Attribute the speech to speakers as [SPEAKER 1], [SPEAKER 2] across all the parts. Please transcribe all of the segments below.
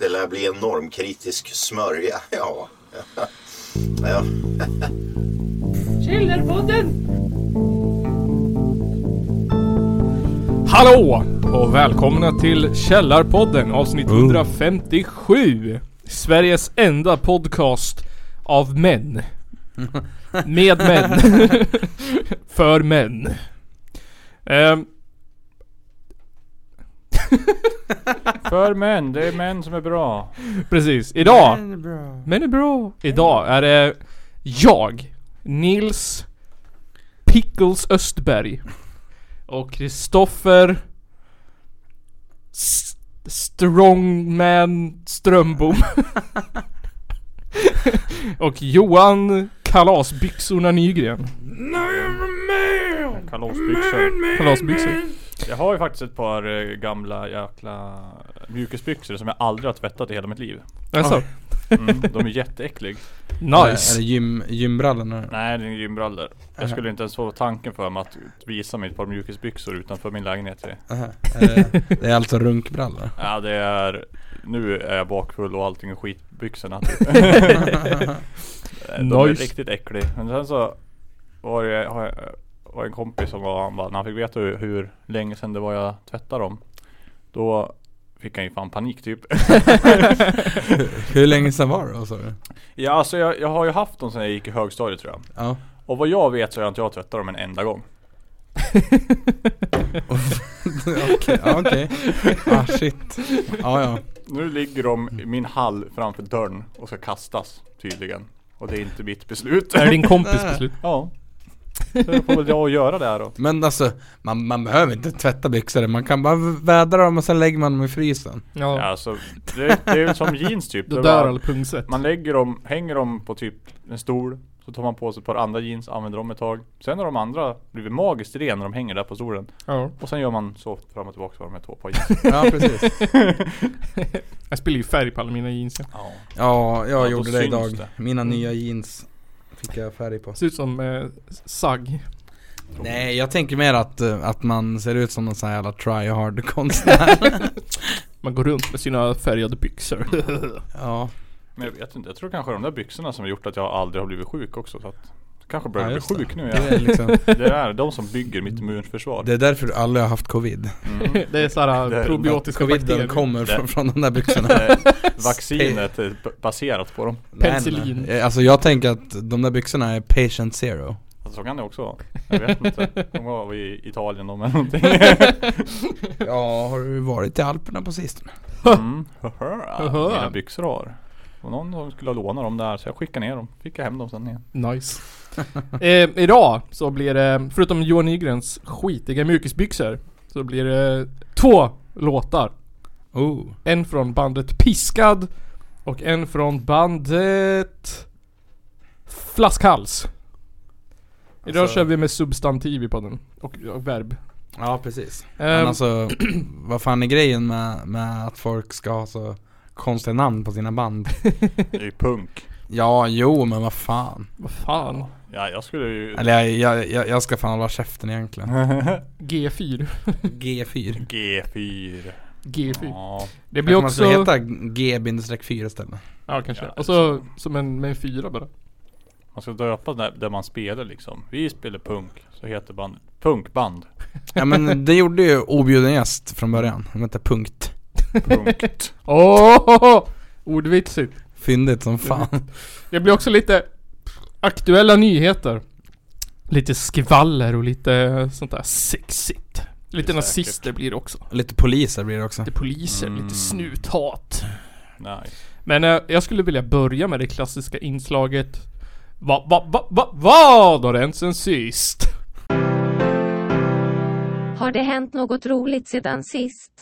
[SPEAKER 1] Det lär bli en normkritisk smörja. Ja. ja.
[SPEAKER 2] Källarpodden!
[SPEAKER 3] Hallå och välkomna till Källarpodden avsnitt 157. Sveriges enda podcast av män. Med män. För män. Ehm,
[SPEAKER 4] För män, det är män som är bra.
[SPEAKER 3] precis, idag. Men det är bra. Idag är det jag, Nils Pickles Östberg och Kristoffer S- Strongman Strömbom. och Johan Kalasbyxorna Nygren.
[SPEAKER 4] Kalasbyxor.
[SPEAKER 3] Kalasbyxor.
[SPEAKER 4] Jag har ju faktiskt ett par eh, gamla jäkla mjukisbyxor som jag aldrig har tvättat i hela mitt liv.
[SPEAKER 3] Alltså,
[SPEAKER 4] Mm, de är jätteäckliga.
[SPEAKER 5] Är det
[SPEAKER 3] nice.
[SPEAKER 5] gym, gymbrallorna?
[SPEAKER 4] Nej, det är gymbrallor. Jag skulle inte ens få tanken för mig att visa mig ett par mjukisbyxor utanför min lägenhet.
[SPEAKER 5] Aha. Är det- Det är alltså runkbrallor?
[SPEAKER 4] Ja, det är... Nu är jag bakfull och allting är skitbyxorna typ. De är
[SPEAKER 3] Nice.
[SPEAKER 4] riktigt äcklig. Men sen så var det har jag, var en kompis som var, han bara, när han fick veta hur, hur länge sedan det var jag tvättade dem. Då fick han ju fan panik typ.
[SPEAKER 5] Hur länge sedan var det då sa du?
[SPEAKER 4] ja alltså jag, jag har ju haft dem sedan jag gick i högstadiet tror jag.
[SPEAKER 5] Ja.
[SPEAKER 4] Och vad jag vet så har jag inte jag tvättat dem en enda gång.
[SPEAKER 5] Okej, ja, okej. Ah shit. Ja ja.
[SPEAKER 4] Nu ligger de i min hall framför dörren och ska kastas tydligen. Och det är inte mitt beslut.
[SPEAKER 3] Är det din kompis beslut?
[SPEAKER 4] ja. Så jag får väl jag och göra det här då.
[SPEAKER 5] Men alltså, man, man behöver inte tvätta byxor. Man kan bara vädra dem och sen lägger man dem i frysen.
[SPEAKER 4] Ja,
[SPEAKER 3] Ja.
[SPEAKER 4] alltså, det, det är ju som jeans typ.
[SPEAKER 3] Då
[SPEAKER 4] Det
[SPEAKER 3] dör
[SPEAKER 4] var-
[SPEAKER 3] alla pungset.
[SPEAKER 4] Man lägger dem, hänger dem på typ en stol Så tar man på sig ett par andra jeans, använder dem ett tag Sen har de andra blivit magiskt rena när de hänger där på stolen
[SPEAKER 3] Ja.
[SPEAKER 4] Och sen gör man så fram och tillbaka med två par jeans
[SPEAKER 5] Ja precis.
[SPEAKER 3] Jag spiller ju färg på alla mina jeans. ja.
[SPEAKER 4] ja.
[SPEAKER 5] Ja, jag
[SPEAKER 4] Ja, då
[SPEAKER 5] gjorde det
[SPEAKER 4] syns
[SPEAKER 5] idag.
[SPEAKER 4] det. Mm.
[SPEAKER 5] Mina nya jeans fick jag färg på.
[SPEAKER 3] Ser ut som eh, sagg.
[SPEAKER 5] Nej, jag tänker mer att, eh, att man ser ut som någon sån här jävla tryhard konstnär.
[SPEAKER 3] Man går runt med sina färgade byxor.
[SPEAKER 5] ja.
[SPEAKER 4] Men jag vet inte, jag tror kanske de där byxorna som har gjort att jag aldrig har blivit sjuk också så att jag Kanske börjar
[SPEAKER 5] Ja,
[SPEAKER 4] bli
[SPEAKER 5] just
[SPEAKER 4] sjuk nu
[SPEAKER 5] Det är,
[SPEAKER 4] jag,
[SPEAKER 5] liksom,
[SPEAKER 4] Det är de som bygger mitt immunförsvar
[SPEAKER 5] det är därför du aldrig har haft covid.
[SPEAKER 4] mm.
[SPEAKER 3] Det är såhär
[SPEAKER 4] Det-
[SPEAKER 3] probiotiska bakterier.
[SPEAKER 5] Coviden kommer
[SPEAKER 4] Det-
[SPEAKER 5] från, från de där byxorna.
[SPEAKER 4] Eh, Vaccinet är b- baserat på dem
[SPEAKER 5] Nej,
[SPEAKER 3] Penicillin.
[SPEAKER 5] nej, nej. Alltså jag tänker att de där byxorna är patient zero.
[SPEAKER 4] alltså, Så kan det också vara Jag vet inte, de var i Italien de eller någonting
[SPEAKER 5] Ja, har du varit i Alperna på sistone?
[SPEAKER 4] Mm, haha,
[SPEAKER 3] Haha.
[SPEAKER 4] mina byxor har. Och någon som skulle låna dem där så jag skickade ner dem. Fick jag hem dem sen igen.
[SPEAKER 3] Nice. eh, idag så blir det, förutom Johan Nygrens skitiga mjukisbyxor, så blir det två låtar.
[SPEAKER 5] Oh.
[SPEAKER 3] En från bandet Piskad och en från bandet Flaskhals. Idag
[SPEAKER 5] Alltså-
[SPEAKER 3] kör vi med substantiv i podden. Och, och verb.
[SPEAKER 5] Ja, precis. Men
[SPEAKER 3] Ehm,
[SPEAKER 5] alltså, vad fan är grejen med, med att folk ska ha så konstiga namn på sina band?
[SPEAKER 4] Det är ju punk.
[SPEAKER 5] Ja, jo, men vad fan.
[SPEAKER 3] vad fan?
[SPEAKER 4] Ja, jag skulle ju...
[SPEAKER 5] Eller jag, jag, jag, jag ska fan hålla käften egentligen.
[SPEAKER 3] G4.
[SPEAKER 5] G4.
[SPEAKER 4] G4.
[SPEAKER 3] G4.
[SPEAKER 4] Ja.
[SPEAKER 3] Det
[SPEAKER 5] Det
[SPEAKER 3] blir
[SPEAKER 5] också...
[SPEAKER 3] också...
[SPEAKER 5] alltså heta G-4 istället.
[SPEAKER 3] Ja kanske.
[SPEAKER 4] Ja,
[SPEAKER 3] och så som en, med en fyra bara.
[SPEAKER 4] Man ska döpa där, där man spelar liksom. Vi spelar punk. Så heter bandet. Punkband.
[SPEAKER 5] Ja men det gjorde ju objuden gäst från början. De hette Punkt.
[SPEAKER 4] Punkt.
[SPEAKER 3] Åh! Ordvitsigt.
[SPEAKER 5] Fyndigt som fan.
[SPEAKER 3] Det blir också lite aktuella nyheter. Lite skvaller och lite sånt där sexigt.
[SPEAKER 4] Det
[SPEAKER 3] Lite
[SPEAKER 4] är
[SPEAKER 3] nazister
[SPEAKER 4] säkert.
[SPEAKER 3] blir det också.
[SPEAKER 5] Lite poliser blir det också.
[SPEAKER 3] Lite poliser,
[SPEAKER 4] Mm.
[SPEAKER 3] lite snuthat.
[SPEAKER 4] Nej.
[SPEAKER 3] Men eh, jag skulle vilja börja med det klassiska inslaget. Vad va, va, va, vad har hänt sen sist?
[SPEAKER 2] Har det hänt något roligt sedan sist?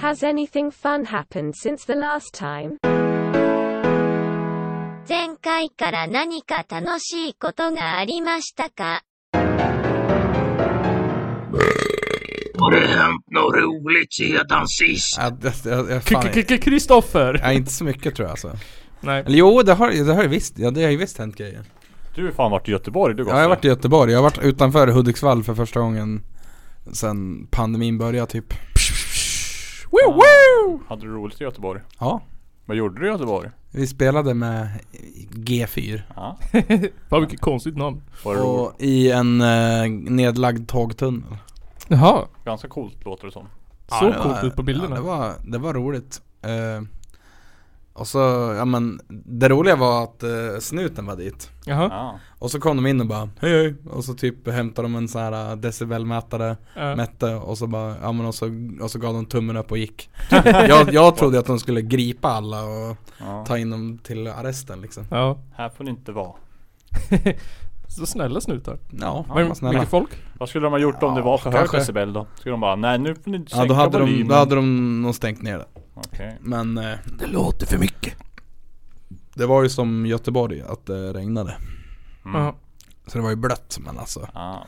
[SPEAKER 2] Has anything fun happened since the last time?
[SPEAKER 6] 前回から何か楽しいことがありましたか
[SPEAKER 7] Har det hänt något roligt sedan sist?
[SPEAKER 5] Ja, det- jag, jag,
[SPEAKER 3] K-
[SPEAKER 5] fan,
[SPEAKER 3] K- K-
[SPEAKER 4] Äh,
[SPEAKER 3] Kristoffer!
[SPEAKER 5] ja, inte så mycket tror jag alltså.
[SPEAKER 3] Nej.
[SPEAKER 5] Eller jo, det har, det har ju visst, ja, det har ju visst hänt grejer.
[SPEAKER 4] Du har fan varit i Göteborg du
[SPEAKER 5] Ja, jag har varit i Göteborg, jag har varit utanför Hudiksvall för första gången sen pandemin började typ.
[SPEAKER 3] Woo, woo!
[SPEAKER 4] Hade du roligt i Göteborg?
[SPEAKER 5] Ja.
[SPEAKER 4] Vad gjorde du i Göteborg?
[SPEAKER 5] Vi spelade med G4.
[SPEAKER 4] Ja.
[SPEAKER 3] Fan vilket konstigt namn.
[SPEAKER 4] Var det roligt?
[SPEAKER 5] Och i en eh, nedlagd tågtunnel.
[SPEAKER 3] Jaha.
[SPEAKER 4] Ganska coolt låter det som.
[SPEAKER 3] Så
[SPEAKER 5] det
[SPEAKER 3] coolt
[SPEAKER 5] var-
[SPEAKER 3] ut på bilderna.
[SPEAKER 5] Ja, det, var, det var roligt. Eh, och så, ja men det roliga var att eh, snuten var dit.
[SPEAKER 3] Jaha.
[SPEAKER 4] Ja.
[SPEAKER 5] Och så kom de in och bara hej hej Och så typ hämtade de en sån här eh, decibelmätare
[SPEAKER 3] Ja.
[SPEAKER 5] Mätte och så bara, ja men och så, och så gav de tummen upp och gick jag, jag trodde att de skulle gripa alla och
[SPEAKER 4] ja.
[SPEAKER 5] ta in dem till arresten liksom
[SPEAKER 3] ja.
[SPEAKER 4] Här får ni inte vara.
[SPEAKER 3] Så snälla snutar.
[SPEAKER 5] Ja,
[SPEAKER 3] Men
[SPEAKER 5] vad snälla Mm.
[SPEAKER 3] mycket folk?
[SPEAKER 4] Vad skulle de ha gjort om det
[SPEAKER 5] Ja,
[SPEAKER 4] var för hög
[SPEAKER 5] kanske.
[SPEAKER 4] decibel då? Skulle de bara, nej nu får ni inte
[SPEAKER 5] Ja
[SPEAKER 4] sänka
[SPEAKER 5] då hade, de,
[SPEAKER 4] volymen.
[SPEAKER 5] då hade de nog stängt ner det
[SPEAKER 4] Okej.
[SPEAKER 5] Men eh,
[SPEAKER 3] Det låter för mycket.
[SPEAKER 5] det var ju som Göteborg, att det regnade
[SPEAKER 4] Mm.
[SPEAKER 3] Ja.
[SPEAKER 5] Så det var ju blött men alltså,
[SPEAKER 4] Ja.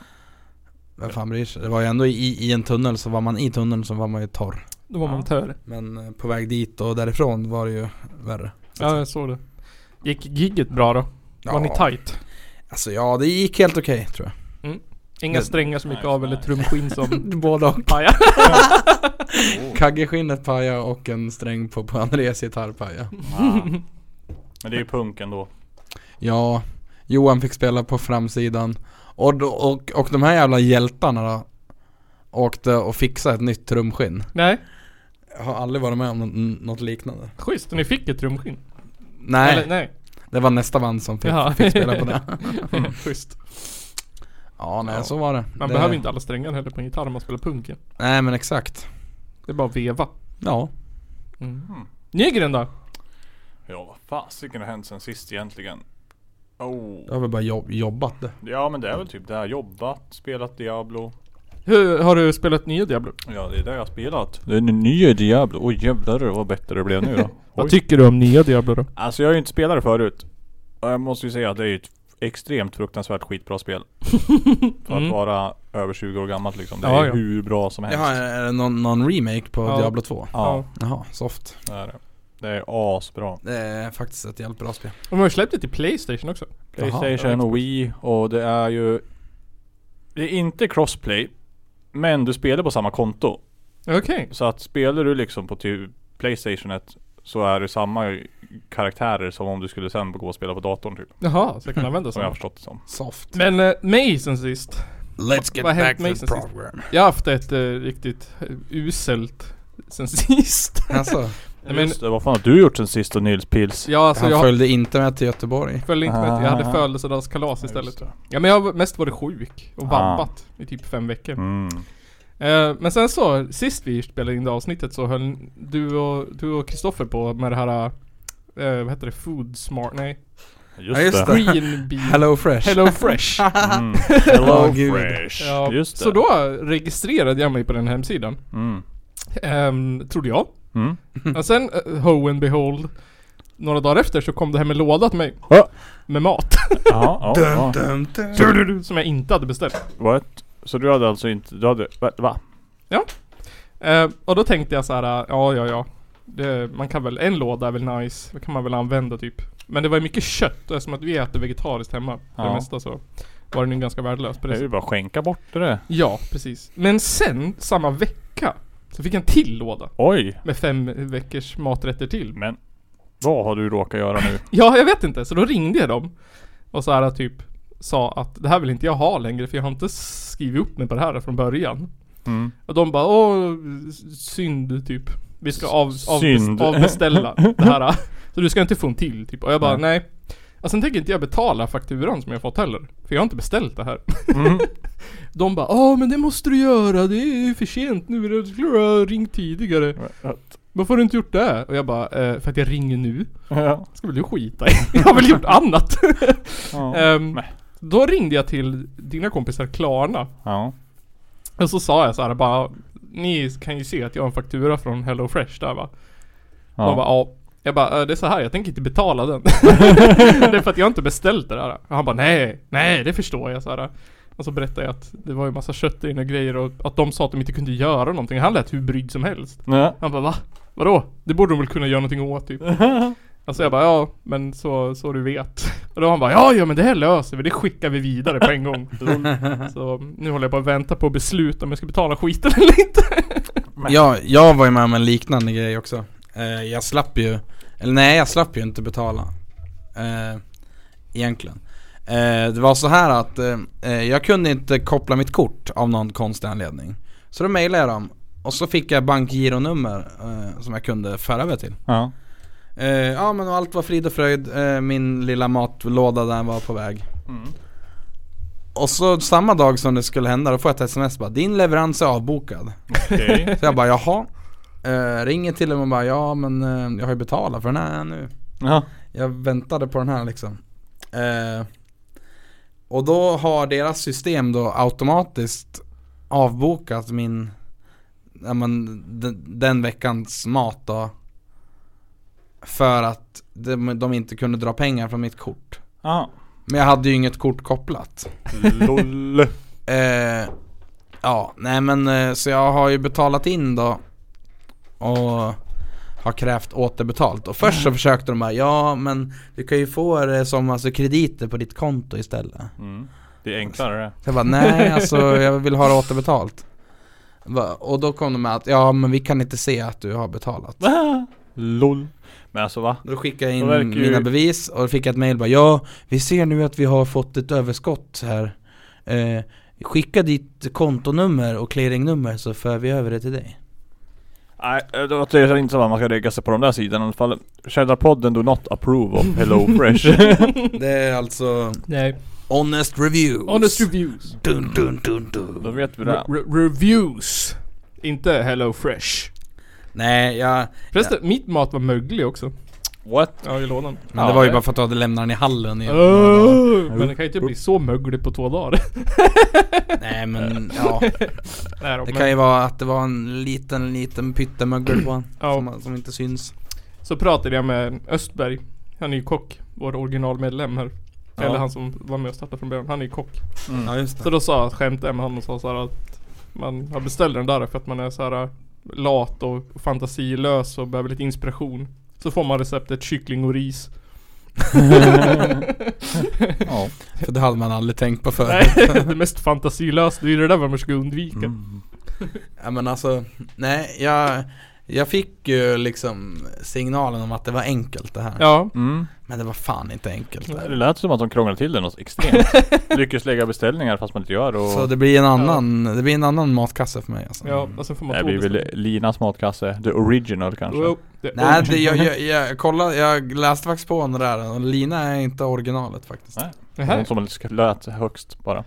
[SPEAKER 5] vem fan bryr sig? Det var ju ändå i, i en tunnel, så var man i tunneln så var man ju torr
[SPEAKER 3] Då var man tör.
[SPEAKER 5] Men eh, på väg dit och därifrån var det ju värre
[SPEAKER 3] Ja, jag såg det. Gick gigget bra då? Var ni tight?
[SPEAKER 5] Alltså ja, det gick helt okej tror jag
[SPEAKER 3] Inga
[SPEAKER 5] Men-
[SPEAKER 3] strängar som gick
[SPEAKER 4] Nej,
[SPEAKER 3] av eller
[SPEAKER 4] nej.
[SPEAKER 3] trumskinn som
[SPEAKER 5] Både och
[SPEAKER 3] pajade?
[SPEAKER 5] Kaggeskinnet paja och en sträng på, på Andreas gitarr paja.
[SPEAKER 4] Ja. Men det är ju punk ändå.
[SPEAKER 5] Ja, Johan fick spela på framsidan. Och, då- och, och de här jävla hjältarna då, åkte och fixade ett nytt trumskinn.
[SPEAKER 3] Nej,
[SPEAKER 5] Jag har aldrig varit med om nå- något liknande.
[SPEAKER 3] schysst. Ni fick ett trumskinn?
[SPEAKER 5] Nej,
[SPEAKER 3] Eller, nej.
[SPEAKER 5] det var nästa band som fick,
[SPEAKER 3] Jaha.
[SPEAKER 5] fick spela på det.
[SPEAKER 3] schysst.
[SPEAKER 5] Ja, nej
[SPEAKER 3] Ja.
[SPEAKER 5] så var det.
[SPEAKER 3] Man
[SPEAKER 5] Mm. det,
[SPEAKER 3] behöver inte alla strängar heller på en gitarr om man spelar punk. ja.
[SPEAKER 5] Nej men exakt.
[SPEAKER 3] Det är bara att veva.
[SPEAKER 5] Ja.
[SPEAKER 3] Nygren då?
[SPEAKER 4] Ja vad fasiken har hänt sen sist egentligen? Oh.
[SPEAKER 5] Jag har väl bara jobb, jobbat det.
[SPEAKER 4] Ja men det är väl typ det här. Jobbat, spelat Diablo.
[SPEAKER 3] Hur, har du spelat nya Diablo?
[SPEAKER 4] Ja det är det jag har spelat. Det är en ny Diablo. Oj jävlar vad bättre det blev nu då.
[SPEAKER 3] Vad tycker du om nya Diablo då?
[SPEAKER 4] Alltså jag har ju inte spelat det förut. Och jag måste ju säga att det är ju ett extremt fruktansvärt skitbra spel. För att vara över 20 år gammalt liksom. Det
[SPEAKER 3] Ja,
[SPEAKER 4] är
[SPEAKER 3] ja.
[SPEAKER 4] hur bra som helst.
[SPEAKER 5] Jaha, är Mm. det någon, någon remake på
[SPEAKER 3] Ja.
[SPEAKER 5] Diablo 2?
[SPEAKER 4] Ja,
[SPEAKER 5] Jaha, soft.
[SPEAKER 4] det är det. Det är asbra.
[SPEAKER 5] Det är faktiskt ett jävligt bra spel.
[SPEAKER 3] De har ju släppt det till Playstation också.
[SPEAKER 4] Playstation och Wii och det är ju... Det är inte crossplay. Men du spelar på samma konto.
[SPEAKER 3] Okej.
[SPEAKER 4] Så att spelar du liksom på typ Playstation 1 så är det samma karaktärer som om du skulle sen gå och spela på datorn typ.
[SPEAKER 3] Jaha, så jag kan använda
[SPEAKER 4] Som jag har
[SPEAKER 3] sådana.
[SPEAKER 4] förstått det som.
[SPEAKER 5] Soft.
[SPEAKER 3] Men eh, mig sen sist.
[SPEAKER 5] Let's get
[SPEAKER 3] Vad har
[SPEAKER 5] back
[SPEAKER 3] hänt
[SPEAKER 5] to
[SPEAKER 3] mig
[SPEAKER 5] the
[SPEAKER 3] sen sist?
[SPEAKER 5] program.
[SPEAKER 3] Jag har haft ett eh, riktigt eh, uselt sen sist.
[SPEAKER 5] Alltså,
[SPEAKER 3] Nej,
[SPEAKER 4] Men...
[SPEAKER 3] men-
[SPEAKER 4] Just det, vad fan har du gjort sen sist och Nils Pils?
[SPEAKER 3] Ja, alltså
[SPEAKER 5] han
[SPEAKER 3] jag
[SPEAKER 5] följde inte med till Göteborg.
[SPEAKER 3] följde inte med. till- Jag
[SPEAKER 4] Ah.
[SPEAKER 3] hade födelsedagskalas
[SPEAKER 4] Just
[SPEAKER 3] istället.
[SPEAKER 4] det.
[SPEAKER 3] Ja men jag har mest varit sjuk och
[SPEAKER 4] Ah.
[SPEAKER 3] vabbat i typ fem veckor.
[SPEAKER 4] Mm.
[SPEAKER 3] Eh, men sen så, sist vi spelade in det avsnittet så höll du och du och Kristoffer på med det här, eh, vad heter det? Food smart? Nej.
[SPEAKER 4] Just,
[SPEAKER 5] Ja, just
[SPEAKER 4] det.
[SPEAKER 5] det.
[SPEAKER 3] Green bean.
[SPEAKER 5] Hello Fresh.
[SPEAKER 3] Hello fresh.
[SPEAKER 4] Mm. Hello
[SPEAKER 5] Åh, gud.
[SPEAKER 4] Fresh.
[SPEAKER 3] ja,
[SPEAKER 4] Just det.
[SPEAKER 3] Så då registrerade jag mig på den hemsidan.
[SPEAKER 4] Mm.
[SPEAKER 3] Um, trodde jag.
[SPEAKER 4] Mm.
[SPEAKER 3] Och sen, uh, ho and behold. Några dagar efter så kom det hem en låda till mig.
[SPEAKER 4] Ja.
[SPEAKER 3] Med mat.
[SPEAKER 4] Jaha, ja, ja.
[SPEAKER 5] Dum, dum.
[SPEAKER 3] som jag inte hade beställt.
[SPEAKER 4] What? Så du hade alltså inte, du hade, va? va?
[SPEAKER 3] Eh, och då tänkte jag så här, eh, ja ja ja. Det, man kan väl, en låda är väl nice. Det kan man väl använda typ. Men det var ju mycket kött och eftersom att vi äter vegetariskt hemma för
[SPEAKER 4] Ja.
[SPEAKER 3] det mesta så var den ju ganska värdelös. på
[SPEAKER 4] Det
[SPEAKER 3] det
[SPEAKER 4] är ju
[SPEAKER 3] sättet.
[SPEAKER 4] bara att skänka bort det.
[SPEAKER 3] Ja, precis. Men sen, samma vecka, så fick jag en till låda.
[SPEAKER 4] Oj!
[SPEAKER 3] Med fem veckors maträtter till.
[SPEAKER 4] Men vad har du råkat göra nu?
[SPEAKER 3] Ja, jag vet inte. Så då ringde jag dem. Och så här typ sa att det här vill inte jag ha längre för jag har inte skrivit upp mig på det här från början.
[SPEAKER 4] Mm.
[SPEAKER 3] Och de bara åh, synd typ. Vi ska av, av,
[SPEAKER 4] Synd.
[SPEAKER 3] avbeställa det här. Så du ska inte få en till typ. Och jag bara
[SPEAKER 4] Nej.
[SPEAKER 3] nej. Och sen tänker inte jag betala fakturan som jag fått heller. För jag har inte beställt det här.
[SPEAKER 4] Mm.
[SPEAKER 3] De bara åh men det måste du göra. Det är ju för sent nu. Du skulle ha ringt tidigare. Varför har du inte gjort det? Och jag bara eh, för att jag ringer nu.
[SPEAKER 4] Ja.
[SPEAKER 3] Ska väl du skita i. Jag har väl gjort annat.
[SPEAKER 4] Ja.
[SPEAKER 3] Ehm, då ringde jag till dina kompisar Klarna.
[SPEAKER 4] ja.
[SPEAKER 3] Och så sa jag så här bara. Ni kan ju se att jag har en faktura från Hello Fresh där va. De bara
[SPEAKER 4] ja.
[SPEAKER 3] ja. Jag bara, "Eh, det är så här, jag tänker inte betala den. det är för att jag inte beställt det där. Och han bara, nej, nej det förstår jag så här. Och så berättade jag att det var ju massa kött in och grejer och att de sa att de inte kunde göra någonting. Han lät hur brydd som helst.
[SPEAKER 4] ja.
[SPEAKER 3] Han bara, va? Vadå? Det borde de väl kunna göra någonting åt typ. Alltså jag bara, ja men så, så du vet. Och då han bara, ja ja men det här löser vi, det skickar vi vidare på en Mm. gång. Så nu håller jag bara och väntar på beslut om jag ska betala skiten eller inte.
[SPEAKER 4] med.
[SPEAKER 5] Jag, jag var ju med om en liknande grej också. Eh, jag slapp ju, eller nej jag slapp ju inte betala. Eh, egentligen. Eh, det var så här att eh, eh, jag kunde inte koppla mitt kort av någon konstig anledning. Så då mejlade jag dem och så fick jag bankgironummer eh, som jag kunde föra över till.
[SPEAKER 4] Ja.
[SPEAKER 5] Eh, ja men och allt var frid och fröjd, eh, min lilla matlåda där var på väg.
[SPEAKER 4] Mm.
[SPEAKER 5] Och så samma dag som det skulle hända, då får jag ett sms bara Din leverans är avbokad.
[SPEAKER 4] Okej.
[SPEAKER 5] Så jag bara jaha eh, Ringer till dem och bara ja men eh, jag har ju betalat för den här nu
[SPEAKER 4] Ja.
[SPEAKER 5] Jag väntade på den här liksom eh, Och då har deras system då automatiskt avbokat min ja, men, den, den veckans mat då För att de, de inte kunde dra pengar från mitt kort
[SPEAKER 4] Ja.
[SPEAKER 5] Men jag hade ju inget kort kopplat
[SPEAKER 4] LOL.
[SPEAKER 5] Eh, ja, nej men eh, så jag har ju betalat in då och har krävt återbetalt. Och först så försökte de bara, ja men du kan ju få det som alltså krediter på ditt konto istället.
[SPEAKER 4] Mm. Det är enklare det.
[SPEAKER 5] Så jag bara, nej alltså jag vill ha det återbetalt. Va- Och då kom de med att, ja men vi kan inte se att du har betalat.
[SPEAKER 4] LOL. Men alltså va?
[SPEAKER 5] Då skickade jag
[SPEAKER 4] Då verkar
[SPEAKER 5] in
[SPEAKER 4] ju-
[SPEAKER 5] mina bevis och då fick jag ett mail bara Ja, vi ser nu att vi har fått ett överskott här eh, Skicka ditt kontonummer och clearingnummer så för vi över det till dig
[SPEAKER 4] Nej, eh, det låter inte som att man ska lägga sig på de där sidorna i alla fall. Cheddarpodden do not approve of Hello Fresh.
[SPEAKER 5] Det är alltså
[SPEAKER 3] Nej.
[SPEAKER 5] Honest Reviews
[SPEAKER 3] Honest reviews.
[SPEAKER 5] dun, dun, dun, dun.
[SPEAKER 4] Då vet vi
[SPEAKER 3] Re-
[SPEAKER 4] det.
[SPEAKER 3] re- reviews. Inte hello fresh.
[SPEAKER 5] Nej, jag,
[SPEAKER 3] Förresten, mitt mat var möglig också.
[SPEAKER 4] What?
[SPEAKER 3] Ja, i lådan.
[SPEAKER 5] men det
[SPEAKER 4] Ja,
[SPEAKER 5] var ju
[SPEAKER 4] det-
[SPEAKER 5] bara för att du hade lämnat den i hallen i
[SPEAKER 3] Åh, men det kan ju inte bli så möglig på två dagar.
[SPEAKER 5] Nej men ja,
[SPEAKER 3] Nej, då,
[SPEAKER 5] det
[SPEAKER 3] men-
[SPEAKER 5] kan ju vara att det var en liten, liten pyttemögel på den
[SPEAKER 3] Ja.
[SPEAKER 5] som, som inte syns
[SPEAKER 3] Så pratade jag med Östberg Han är ju kock, vår originalmedlem här
[SPEAKER 5] Ja.
[SPEAKER 3] Eller han som var med och startade från början, han är ju kock
[SPEAKER 5] Ja just
[SPEAKER 3] Så då sa jag, skämtade jag med honom och sa såhär att Man har beställt den där för att man är såhär Lat och fantasilös och behöver lite inspiration Så får man receptet kyckling och ris
[SPEAKER 4] Ja.
[SPEAKER 5] För det hade man aldrig tänkt på förut
[SPEAKER 3] Nej, det mest fantasilösa, det är ju det där vad man ska undvika
[SPEAKER 5] Mm. Ja men alltså, nej jag, jag fick ju liksom signalen om att det var enkelt det här.
[SPEAKER 3] Ja,
[SPEAKER 4] Mm.
[SPEAKER 5] Men det var fan inte enkelt.
[SPEAKER 4] Det
[SPEAKER 5] Det.
[SPEAKER 4] lät som att de krånglade till det något extremt. Lyckas lägga beställningar fast man inte gör och...
[SPEAKER 5] Så det blir en annan, det blir en annan matkasse för mig alltså.
[SPEAKER 3] ja och sen får man
[SPEAKER 4] det
[SPEAKER 3] två
[SPEAKER 4] blir väl
[SPEAKER 3] beställningar.
[SPEAKER 4] Linas matkasse. The original kanske.
[SPEAKER 3] Jo, det-
[SPEAKER 5] Nej, det, jag, jag, jag kollade, jag läste faktiskt på om det där och Lina är inte originalet faktiskt.
[SPEAKER 4] Nej.
[SPEAKER 3] Nähä.
[SPEAKER 4] Hon som lät högst bara.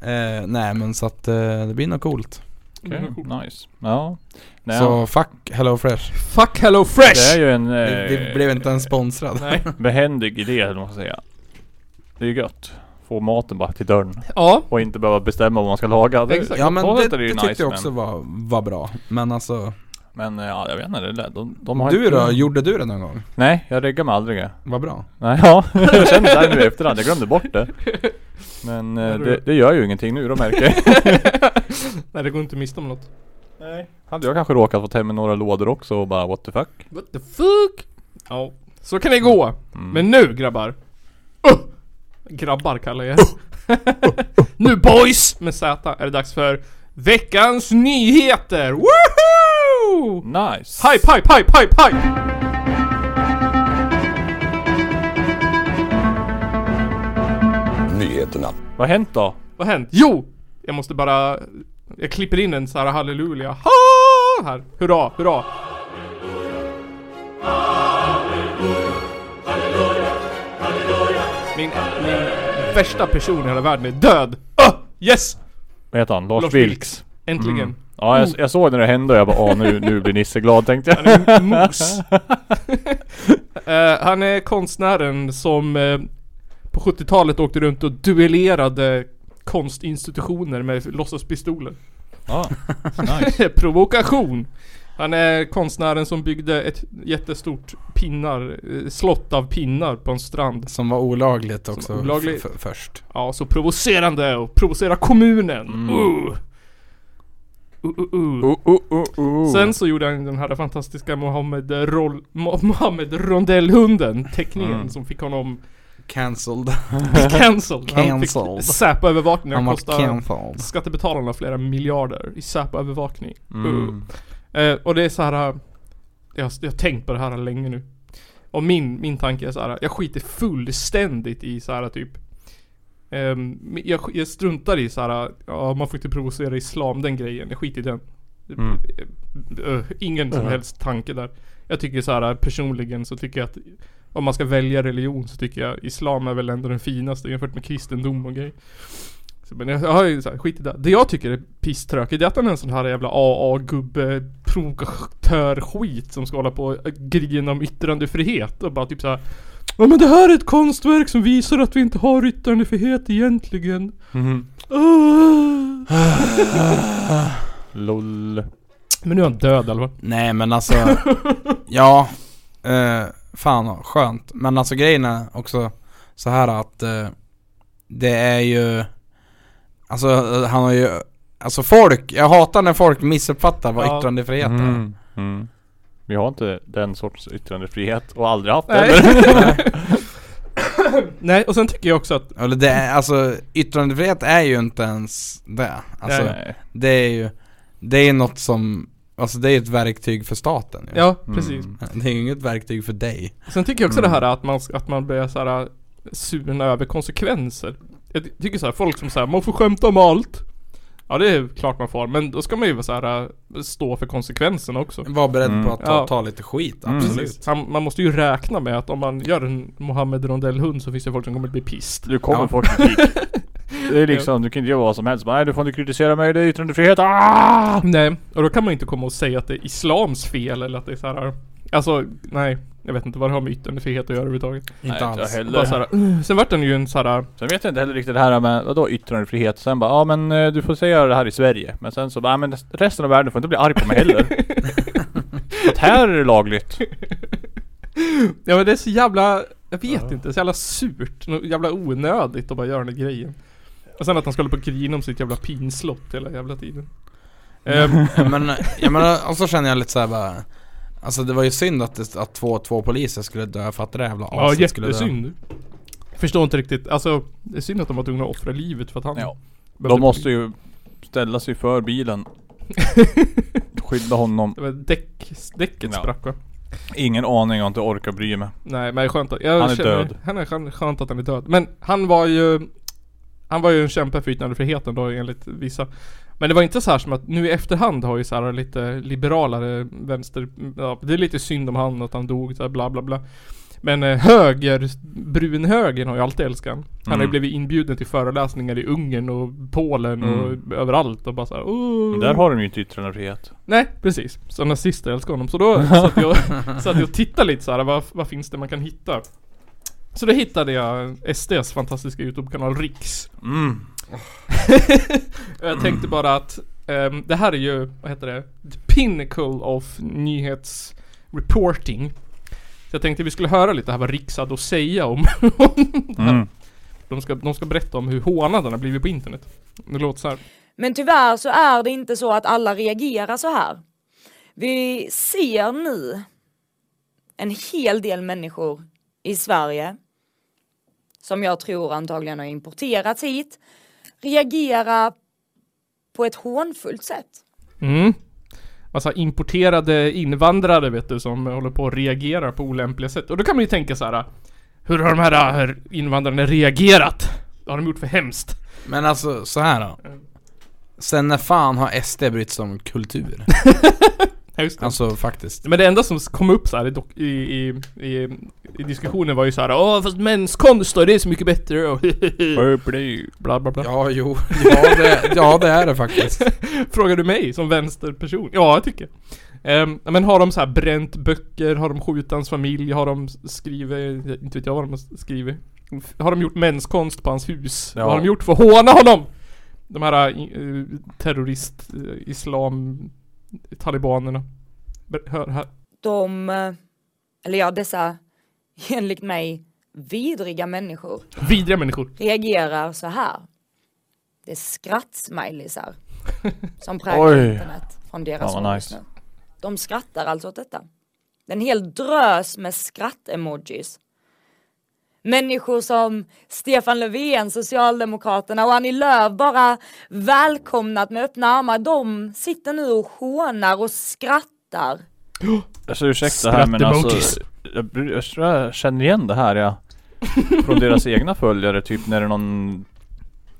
[SPEAKER 5] Eh, nej men så att eh, det blir nog coolt.
[SPEAKER 4] Okej,
[SPEAKER 3] Mm, coolt.
[SPEAKER 4] nice. Ja. Nej,
[SPEAKER 5] Så fuck Hello Fresh.
[SPEAKER 3] Fuck hello
[SPEAKER 4] Det är
[SPEAKER 3] fresh!
[SPEAKER 4] ju en... Eh,
[SPEAKER 5] Vi, vi blev inte ens sponsrad.
[SPEAKER 3] Nej.
[SPEAKER 4] behändig idé eller vad man ska säga. Det är ju gött. Få maten bara till dörren.
[SPEAKER 3] Ja,
[SPEAKER 4] Och inte behöva bestämma vad man ska laga. Det,
[SPEAKER 3] Exakt.
[SPEAKER 5] Ja men
[SPEAKER 4] på
[SPEAKER 5] det,
[SPEAKER 4] sätt är
[SPEAKER 5] det
[SPEAKER 4] ju
[SPEAKER 5] tyckte
[SPEAKER 4] nice,
[SPEAKER 5] jag också
[SPEAKER 4] men-
[SPEAKER 5] var, var bra. Men alltså,
[SPEAKER 4] Men eh, ja, jag vet inte. Det, lät- de, de har
[SPEAKER 5] du
[SPEAKER 4] inte-
[SPEAKER 5] då? Gjorde du det någon gång?
[SPEAKER 4] Nej, jag reggar mig aldrig.
[SPEAKER 5] Vad bra.
[SPEAKER 4] Nej, ja. Jag känner såhär nu i efterhand. Jag glömde bort det. Men eh, det, det gör ju ingenting nu då märker jag.
[SPEAKER 3] nej det går inte att missa om något
[SPEAKER 4] Nej. Hade jag kanske råkat fått hem med några lådor också och bara what the fuck?
[SPEAKER 3] What the fuck? Ja, så kan det gå.
[SPEAKER 4] Mm.
[SPEAKER 3] Men nu grabbar. Uh! Grabbar kallar jag er.
[SPEAKER 4] Uh!
[SPEAKER 3] Nu boys! Med Z är det dags för veckans nyheter! Woohoo!
[SPEAKER 4] Nice!
[SPEAKER 3] Hype, hype, hype, hype, hype!
[SPEAKER 8] Nyheterna.
[SPEAKER 4] Vad har hänt då?
[SPEAKER 3] Vad har hänt? Jo! Jag måste bara... Jag klipper in en så här halleluja. Ha! Här. Hurra, hurra. Min, min värsta person i hela världen är död. Öh! yes!
[SPEAKER 4] Vad heter han? Lars,
[SPEAKER 3] Lars
[SPEAKER 4] Vilks? Mm.
[SPEAKER 3] Äntligen.
[SPEAKER 4] Ja, jag, jag såg när det hände och jag bara åh nu, nu blir Nisse glad tänkte jag.
[SPEAKER 3] Han är en mos. Eh, han är konstnären som eh, på 70-talet åkte runt och duellerade konstinstitutioner med låtsaspistoler.
[SPEAKER 4] Ja, nice.
[SPEAKER 3] Provokation! Han är konstnären som byggde ett jättestort pinnar, eh, slott av pinnar på en strand.
[SPEAKER 5] Som var olagligt också
[SPEAKER 3] olagligt.
[SPEAKER 5] f- f- först.
[SPEAKER 3] Ja, så provocerande och provocera kommunen!
[SPEAKER 4] Mm.
[SPEAKER 3] Uh. Uh, uh, uh.
[SPEAKER 4] Oh, oh, oh, oh.
[SPEAKER 3] Sen så gjorde han den här fantastiska Mohammed, Roll, Mo- Mohammed Rondellhunden teckningen
[SPEAKER 4] Mm.
[SPEAKER 3] som fick honom
[SPEAKER 5] cancelled.
[SPEAKER 3] Cancelled. Han fick
[SPEAKER 5] Cancelled.
[SPEAKER 3] Säpo-övervakning.
[SPEAKER 5] Han
[SPEAKER 3] Han
[SPEAKER 5] var
[SPEAKER 3] kostar
[SPEAKER 5] cancelled.
[SPEAKER 3] skattebetalarna flera miljarder i Säpo-övervakning.
[SPEAKER 4] Mm.
[SPEAKER 3] Eh, och det är så här. eh, Jag, jag har tänkt på det här länge nu. Och min, min tanke är så här. Jag skiter fullständigt i så här typ. ehm, jag, sk- jag struntar i så här. Ja, man får inte provocera islam, den grejen. Jag skiter i den.
[SPEAKER 4] Mm.
[SPEAKER 3] Eh, ingen som
[SPEAKER 4] Mm.
[SPEAKER 3] helst tanke där. Jag tycker så här personligen så tycker jag att om man ska välja religion så tycker jag islam är väl ändå den finaste jämfört med kristendom och grejer. Så, men jag, jag har ju så här, skit i det. Det jag tycker är pisstråkigt det är att han är en sån här jävla AA-gubbe provokatör skit som ska hålla på och grina om yttrandefrihet och bara typ så här. Ja men det här är ett konstverk som visar att vi inte har yttrandefrihet egentligen.
[SPEAKER 4] Mhm.
[SPEAKER 3] Ah.
[SPEAKER 4] LOL.
[SPEAKER 3] Men nu är han död eller vad?
[SPEAKER 5] Nej men alltså, ja, eh, fan skönt. Men alltså grejen är också så här att eh, det är ju, alltså eh, han har ju, alltså folk, jag hatar när folk missuppfattar vad
[SPEAKER 3] Ja.
[SPEAKER 5] yttrandefrihet är.
[SPEAKER 4] Mm. Mm. Vi har inte den sorts yttrandefrihet och aldrig haft det.
[SPEAKER 3] Nej.
[SPEAKER 4] eller?
[SPEAKER 3] Nej och sen tycker jag också att
[SPEAKER 5] Eller det är, alltså yttrandefrihet är ju inte ens det. Alltså
[SPEAKER 3] Nej.
[SPEAKER 4] Nej.
[SPEAKER 5] det är ju, det är något som, alltså det är ett verktyg för staten ju.
[SPEAKER 3] Ja, precis.
[SPEAKER 4] Mm.
[SPEAKER 5] Det är ju inget verktyg för dig.
[SPEAKER 3] Sen tycker jag också
[SPEAKER 4] Mm.
[SPEAKER 3] det här att man, att man börjar så här surna över konsekvenser. Jag ty- tycker så här, folk som säger man får skämta om allt. Ja det är klart man får, men då ska man ju vara så här äh, stå för konsekvenserna också.
[SPEAKER 5] Var beredd
[SPEAKER 4] Mm.
[SPEAKER 5] på att ta,
[SPEAKER 3] Ja.
[SPEAKER 5] ta lite skit,
[SPEAKER 4] Mm.
[SPEAKER 5] absolut.
[SPEAKER 3] Precis. Han, man måste ju räkna med att om man gör en Mohammed Rondell-hund så finns det folk som kommer att bli pissed.
[SPEAKER 4] Du kommer
[SPEAKER 5] Ja.
[SPEAKER 4] få kritik. Det är liksom, du kan inte göra vad som helst. Bara, Nej du får inte kritisera mig, det är yttrandefrihet. Ah!
[SPEAKER 3] Nej, och då kan man inte komma och säga att det är islams fel eller att det är så här. Alltså, nej. Jag vet inte vad det har med yttrandefrihet att göra överhuvudtaget.
[SPEAKER 5] Inte
[SPEAKER 4] Nej, inte
[SPEAKER 5] alls.
[SPEAKER 4] jag heller.
[SPEAKER 3] Bara så här, "Ugh." sen vart den ju en så här. äh,
[SPEAKER 4] Sen vet jag inte heller riktigt det här med, vadå yttrandefrihet? Sen bara, ja men eh, du får säga det här i Sverige. Men sen så bara, "Ja, men resten av världen får inte bli arg på mig heller. För att här är det lagligt.
[SPEAKER 3] Ja men det är så jävla, jag vet
[SPEAKER 4] Ja.
[SPEAKER 3] inte, så jävla surt. nå- Jävla onödigt att bara göra den här grejen. Och sen att han skulle på och grina om sitt jävla pinslott hela jävla tiden. Ehm,
[SPEAKER 5] men, jag menar, och så känner jag lite såhär bara Alltså det var ju synd att, det, att två, två poliser skulle dö, jag fattar det jävla
[SPEAKER 3] ja
[SPEAKER 5] aset skulle dö.
[SPEAKER 3] jättesynd. Förstår inte riktigt, alltså det är synd att de var tvungna att offra livet för att han
[SPEAKER 4] Ja.
[SPEAKER 3] behövde-
[SPEAKER 4] De måste ju ställa sig för bilen. Skydda honom.
[SPEAKER 3] Det var däck, däcket
[SPEAKER 4] Ja.
[SPEAKER 3] sprack va?
[SPEAKER 4] Ingen aning, jag har inte orkat bry mig.
[SPEAKER 3] Nej men det är skönt att, jag
[SPEAKER 4] Han är
[SPEAKER 3] känner,
[SPEAKER 4] död.
[SPEAKER 3] Han är skön- skönt att han är död. Men han var ju Han var ju en kämpe för yttrandefriheten då enligt vissa Men det var inte så här som att nu i efterhand har ju så här lite liberalare vänster ja, Det är lite synd om han att han dog så här bla bla bla Men eh, höger, brunhögern har ju alltid älskat han. Han har ju
[SPEAKER 4] Mm.
[SPEAKER 3] blivit inbjuden till föreläsningar i Ungern och Polen
[SPEAKER 4] Mm.
[SPEAKER 3] och överallt och bara såhär
[SPEAKER 4] Men där har de ju inte yttrandefrihet.
[SPEAKER 3] Nej, precis. Så nazister älskar honom. Så då satt jag, satt jag och tittade lite så här, vad, vad finns det man kan hitta? Så då hittade jag SDs fantastiska YouTube-kanal Riks.
[SPEAKER 4] Mm.
[SPEAKER 3] Och jag tänkte bara att ehm, det här är ju, vad heter det? The pinnacle of nyhetsreporting. Så jag tänkte vi skulle höra lite här vad Riks hade att säga om,
[SPEAKER 4] Mm.
[SPEAKER 3] de, ska, de ska berätta om hur hånad han har blivit på internet. Det låter så här.
[SPEAKER 8] Men tyvärr så är det inte så att alla reagerar så här. Vi ser nu en hel del människor i Sverige som jag tror antagligen har importerats hit reagera på ett hånfullt sätt.
[SPEAKER 3] Mm. Massa importerade invandrare vet du som håller på att reagera på olämpliga sätt. Och då kan man ju tänka så här. Hur har de här här invandrarna reagerat? Vad har de gjort för hemskt?
[SPEAKER 5] Men alltså så här då. Sen när fan har SD brytt sig om kultur?
[SPEAKER 3] Ja, just det.
[SPEAKER 5] Alltså faktiskt.
[SPEAKER 3] Men det enda som kom upp så här i, dok- i, i, i, i diskussionen var ju så här. Åh fast menskonst då, det är så mycket bättre och
[SPEAKER 4] Bubbly.
[SPEAKER 3] bla bla bla.
[SPEAKER 5] Ja jo, ja det, ja, det är det faktiskt.
[SPEAKER 3] Frågar du mig som vänsterperson? Ja, jag tycker. Ehm, men har de så här bränt böcker? Har de skjutit hans familj? Har de skrivit, inte vet jag vad de har skrivit. Har de gjort mänskonst på hans hus?
[SPEAKER 4] Ja.
[SPEAKER 3] Vad har de gjort för att håna honom? De här eh, terrorist, eh, islam, talibanerna. Ber- Hör här.
[SPEAKER 8] De, eh, eller ja dessa enligt mig vidriga människor
[SPEAKER 3] Vidriga människor.
[SPEAKER 8] reagerar så här. Det är skrattsmileysar som
[SPEAKER 4] Oj.
[SPEAKER 8] präglar internet från deras
[SPEAKER 4] Fan, vad
[SPEAKER 8] håll
[SPEAKER 4] nice.
[SPEAKER 8] just nu. De skrattar alltså åt detta. Det är en hel drös med skratt-emojis. Människor som Stefan Löfven, Socialdemokraterna och Annie Lööf bara välkomnat med öppna armar. De sitter nu och hånar och skrattar.
[SPEAKER 4] Alltså ursäkta här men alltså jag, bry- jag tror jag känner igen det här ja. Från deras egna följare typ när det är någon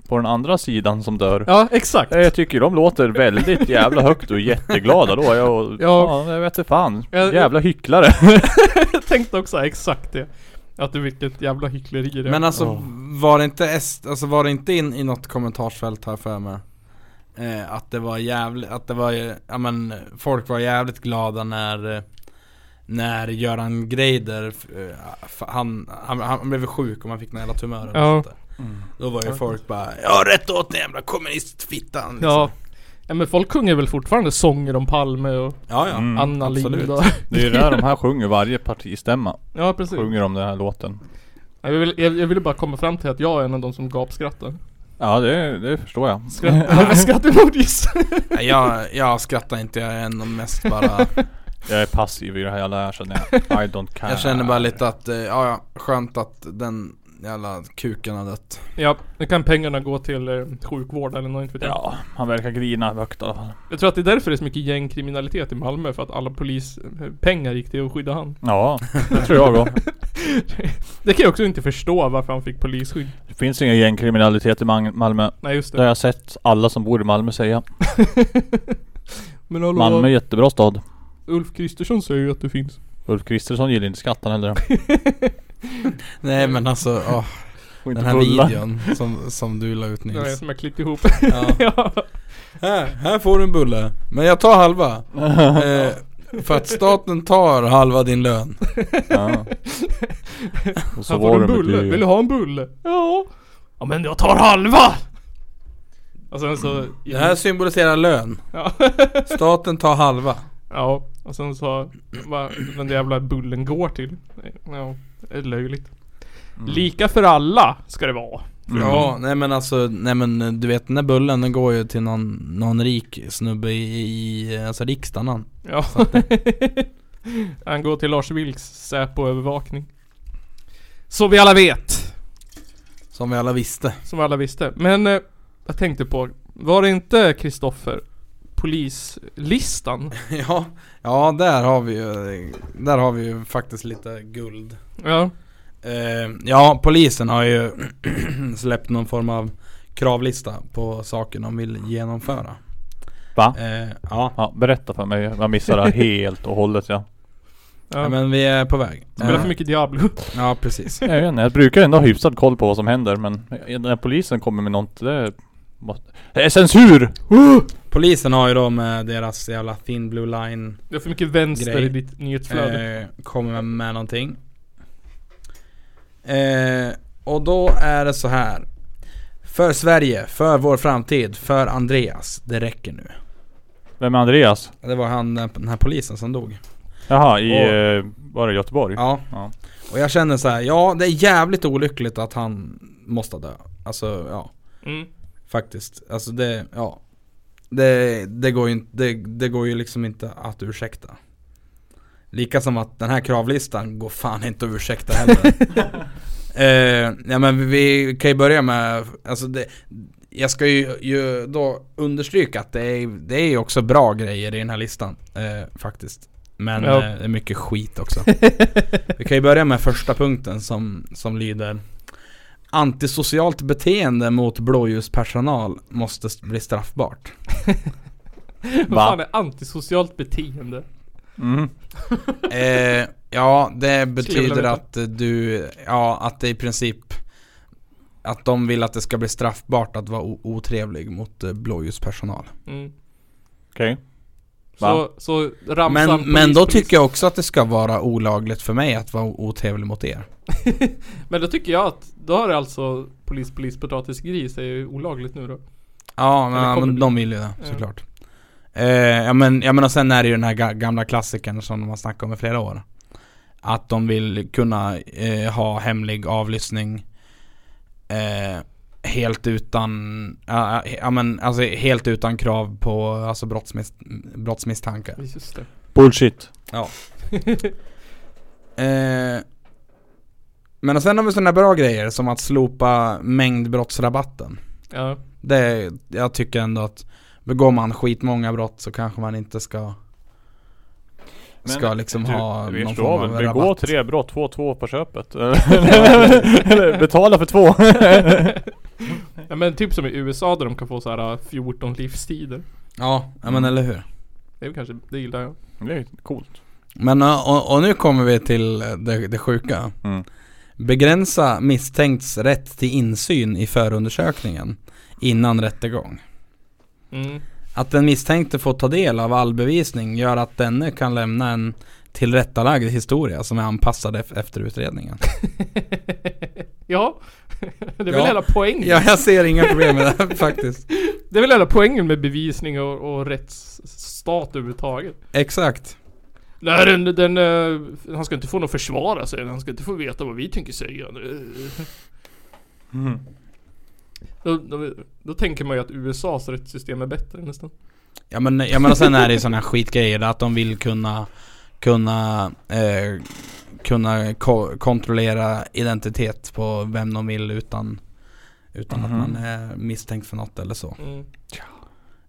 [SPEAKER 4] På den andra sidan som dör
[SPEAKER 3] Ja, exakt.
[SPEAKER 4] Ja, Jag tycker de låter väldigt jävla högt och jätteglada då jag,
[SPEAKER 3] Ja.
[SPEAKER 4] ja. jag vet inte fan
[SPEAKER 3] Ja, det-
[SPEAKER 4] Jävla hycklare
[SPEAKER 3] Jag tänkte också exakt det. Att det vilket jävla hyckleri det är.
[SPEAKER 5] Men alltså
[SPEAKER 4] Ja.
[SPEAKER 5] var det inte est, alltså var det inte in i något kommentarsfält här för mig? Eh, att det var jävligt, att det var ju- ja men folk var jävligt glada när eh, När Göran Greider, eh, f- han, han, han blev sjuk och man fick några jävla tumörer och
[SPEAKER 3] Ja.
[SPEAKER 5] sånt där.
[SPEAKER 4] Mm.
[SPEAKER 5] Då var ju folk bara Ja rätt åt den jävla kommunistfittan liksom.
[SPEAKER 3] ja. ja. men folk sjunger väl fortfarande sånger om Palme och
[SPEAKER 5] ja, ja.
[SPEAKER 4] Mm,
[SPEAKER 3] Anna
[SPEAKER 5] absolut.
[SPEAKER 3] Lindh och...
[SPEAKER 4] Det är ju där de här sjunger varje partistämma
[SPEAKER 3] Ja, precis.
[SPEAKER 4] Sjunger om den här låten
[SPEAKER 3] Jag ville jag, jag ville bara komma fram till att jag är en av de som gapskrattar.
[SPEAKER 4] Ja det, det förstår jag
[SPEAKER 3] Skratt, varför skrattar emojis?
[SPEAKER 5] Nej, Jag, jag skrattar inte, jag är ändå mest bara
[SPEAKER 4] Jag är passiv i det här jävla känner jag I don't care
[SPEAKER 5] Jag känner bara lite att, eh, ja, ja skönt att den jävla kuken har dött
[SPEAKER 3] ja, nu kan pengarna gå till eh, sjukvård eller något, inte vet jag.
[SPEAKER 4] Ja, han verkar grina högt i alla fall
[SPEAKER 3] Jag tror att det är därför det är så mycket gängkriminalitet i Malmö, för att alla polispengar gick till att skydda han.
[SPEAKER 4] Ja, det tror jag också
[SPEAKER 3] Det kan jag också inte förstå varför han fick polisskydd.
[SPEAKER 4] Det finns ingen gängkriminalitet i Mang- Malmö
[SPEAKER 3] Nej just
[SPEAKER 4] Det har
[SPEAKER 3] det.
[SPEAKER 4] jag sett alla som bor i Malmö säga.
[SPEAKER 3] Men hallå,
[SPEAKER 4] Malmö är jättebra stad.
[SPEAKER 3] Ulf Kristersson säger ju att det finns.
[SPEAKER 4] Ulf Kristersson gillar inte skatten heller.
[SPEAKER 5] Nej men alltså, åh,
[SPEAKER 4] Och inte
[SPEAKER 5] den här
[SPEAKER 4] bullar.
[SPEAKER 5] videon som, som du la ut
[SPEAKER 3] Nej,
[SPEAKER 5] Nils
[SPEAKER 3] som jag klippte ihop.
[SPEAKER 5] ja.
[SPEAKER 3] ja.
[SPEAKER 5] här, här får du en bulle, men jag tar halva eh, För att staten tar halva din lön
[SPEAKER 4] Ja. Och så
[SPEAKER 3] Han får
[SPEAKER 4] var
[SPEAKER 3] en
[SPEAKER 4] det
[SPEAKER 3] bulle.
[SPEAKER 4] mycket...
[SPEAKER 3] Vill du ha en bulle? Ja. Ja men jag tar halva! Och sen så...
[SPEAKER 5] Det här symboliserar lön
[SPEAKER 3] Ja.
[SPEAKER 5] Staten tar halva
[SPEAKER 3] ja. Och sen så... Vad den där jävla bullen går till. Ja. Det är löjligt.
[SPEAKER 5] Mm.
[SPEAKER 3] Lika för alla ska det vara.
[SPEAKER 5] Ja, nej men alltså, nej men eh, du vet den där bullen den går ju till någon, någon rik snubbe i, i eh, alltså riksdagen han.
[SPEAKER 3] Ja. Han går till Lars Vilks Säpo-övervakning. Som vi alla vet.
[SPEAKER 5] Som vi alla visste
[SPEAKER 3] Som alla visste. Men eh, jag tänkte på, var det inte Kristoffer polislistan?
[SPEAKER 5] Ja, ja där har vi ju, där har vi ju faktiskt lite guld
[SPEAKER 3] Ja,
[SPEAKER 5] Eh, ja, polisen har ju släppt någon form av kravlista på saker de vill genomföra.
[SPEAKER 4] Va?
[SPEAKER 5] Eh, ja.
[SPEAKER 4] Ja, berätta för mig. Jag missade det här helt och hållet ja.
[SPEAKER 3] ja.
[SPEAKER 5] men vi är på väg.
[SPEAKER 3] Spelar
[SPEAKER 5] Eh,
[SPEAKER 3] för mycket Diablo.
[SPEAKER 5] ja, precis.
[SPEAKER 4] Jag, vet inte, jag brukar ändå ha hyfsad koll på vad som händer men när polisen kommer med något det... måste- Det är censur!
[SPEAKER 5] Polisen har ju då med deras jävla thin blue line
[SPEAKER 3] Det är för mycket vänster
[SPEAKER 5] Grej.
[SPEAKER 3] i ditt nyhetsflöde.
[SPEAKER 5] eh, kommer med någonting. Eh, och då är det så här. För Sverige, för vår framtid, för Andreas. Det räcker nu.
[SPEAKER 4] Vem är Andreas?
[SPEAKER 5] Det var han, den här polisen som dog.
[SPEAKER 4] Jaha, i...
[SPEAKER 5] Åh.
[SPEAKER 4] Eh, var det Göteborg?
[SPEAKER 5] Ja.
[SPEAKER 4] Ja.
[SPEAKER 5] Och jag känner så här, ja det är jävligt olyckligt att han måste dö. Alltså ja,
[SPEAKER 3] Mm.
[SPEAKER 5] faktiskt. Alltså det, ja. Det, det, går ju inte, det, det går ju liksom inte att ursäkta. Lika som att den här kravlistan går fan inte att ursäkta heller. eh, ja men vi kan ju börja med, alltså det, jag ska ju, ju då understryka att det är, det är ju också bra grejer i den här listan. Eh, faktiskt. Men
[SPEAKER 3] Ja.
[SPEAKER 5] eh, det är mycket skit också. vi kan ju börja med första punkten som, som lyder Antisocialt beteende mot blåljuspersonal måste st- bli straffbart.
[SPEAKER 3] Vad
[SPEAKER 4] Va?
[SPEAKER 3] fan är antisocialt beteende?
[SPEAKER 4] Mm.
[SPEAKER 5] Eh, ja, det
[SPEAKER 3] vilja
[SPEAKER 5] betyder
[SPEAKER 3] veta.
[SPEAKER 5] att du, ja att det i princip att de vill att det ska bli straffbart att vara o- otrevlig mot eh, blåljuspersonal.
[SPEAKER 3] Mm.
[SPEAKER 4] Okej. Va?
[SPEAKER 3] Så, så ramsan
[SPEAKER 5] Men,
[SPEAKER 3] polis,
[SPEAKER 5] men då
[SPEAKER 3] polis.
[SPEAKER 5] tycker jag också att det ska vara olagligt för mig att vara o- otrevlig mot er.
[SPEAKER 3] Men då tycker jag att, då har det alltså polis, polis, potatis, gris är ju olagligt nu då.
[SPEAKER 5] Ja, men,
[SPEAKER 3] Eller
[SPEAKER 5] ja,
[SPEAKER 3] kommer
[SPEAKER 5] men
[SPEAKER 3] du-
[SPEAKER 5] de vill ju det
[SPEAKER 3] Ja.
[SPEAKER 5] såklart. Eh, ja men, ja men och sen är det ju den här ga- gamla klassikern som de har snackat om i flera år. Att de vill kunna eh, ha hemlig avlyssning eh, helt utan, ja ja, ja, men alltså helt utan krav på alltså brottsmis brottsmisstankar.
[SPEAKER 3] Just det.
[SPEAKER 4] Bullshit.
[SPEAKER 5] Eh, Men och sen har vi sådana bra grejer som att slopa mängdbrottsrabatten.
[SPEAKER 3] Ja.
[SPEAKER 5] Det, jag tycker ändå att begår man skitmånga brott så kanske man inte ska Ska liksom
[SPEAKER 4] Typ.
[SPEAKER 5] ha
[SPEAKER 4] vi
[SPEAKER 5] någon
[SPEAKER 4] förstår
[SPEAKER 5] form av
[SPEAKER 4] väl,
[SPEAKER 5] rabatt.
[SPEAKER 4] Begå tre brott, få två på köpet. Eller betala för två.
[SPEAKER 3] ja men typ som i USA där de kan få så här 14 livstider.
[SPEAKER 5] Ja, ja
[SPEAKER 4] Mm.
[SPEAKER 5] men eller hur.
[SPEAKER 3] Det är väl kanske, det gillar jag.
[SPEAKER 4] det är ju coolt.
[SPEAKER 5] Men eh, och, och nu kommer vi till eh, det, det sjuka.
[SPEAKER 4] Mm.
[SPEAKER 5] Begränsa misstänkts rätt till insyn i förundersökningen innan rättegång.
[SPEAKER 3] Mm.
[SPEAKER 5] Att den misstänkte får ta del av all bevisning gör att denne kan lämna en tillrättalagd historia som är anpassad ef- efter utredningen.
[SPEAKER 3] ja. det är väl
[SPEAKER 5] Ja.
[SPEAKER 3] hela poängen.
[SPEAKER 5] Ja, jag ser inga problem med det här, faktiskt.
[SPEAKER 3] Det är väl hela poängen med bevisning och, och rättsstat överhuvudtaget.
[SPEAKER 5] Exakt.
[SPEAKER 3] Nej den, den, eh, han ska inte få någon försvara sig. Han ska inte få veta vad vi tänker säga. Eh.
[SPEAKER 5] Mm.
[SPEAKER 3] Då, då, då tänker man ju att USAs rättssystem är bättre nästan.
[SPEAKER 5] Ja men, ja, men och sen är det ju sådana här skitgrejer där att de vill kunna kunna eh, kunna ko- kontrollera identitet på vem de vill utan utan
[SPEAKER 4] Mhm.
[SPEAKER 5] att man är misstänkt för något eller så.
[SPEAKER 3] Mm.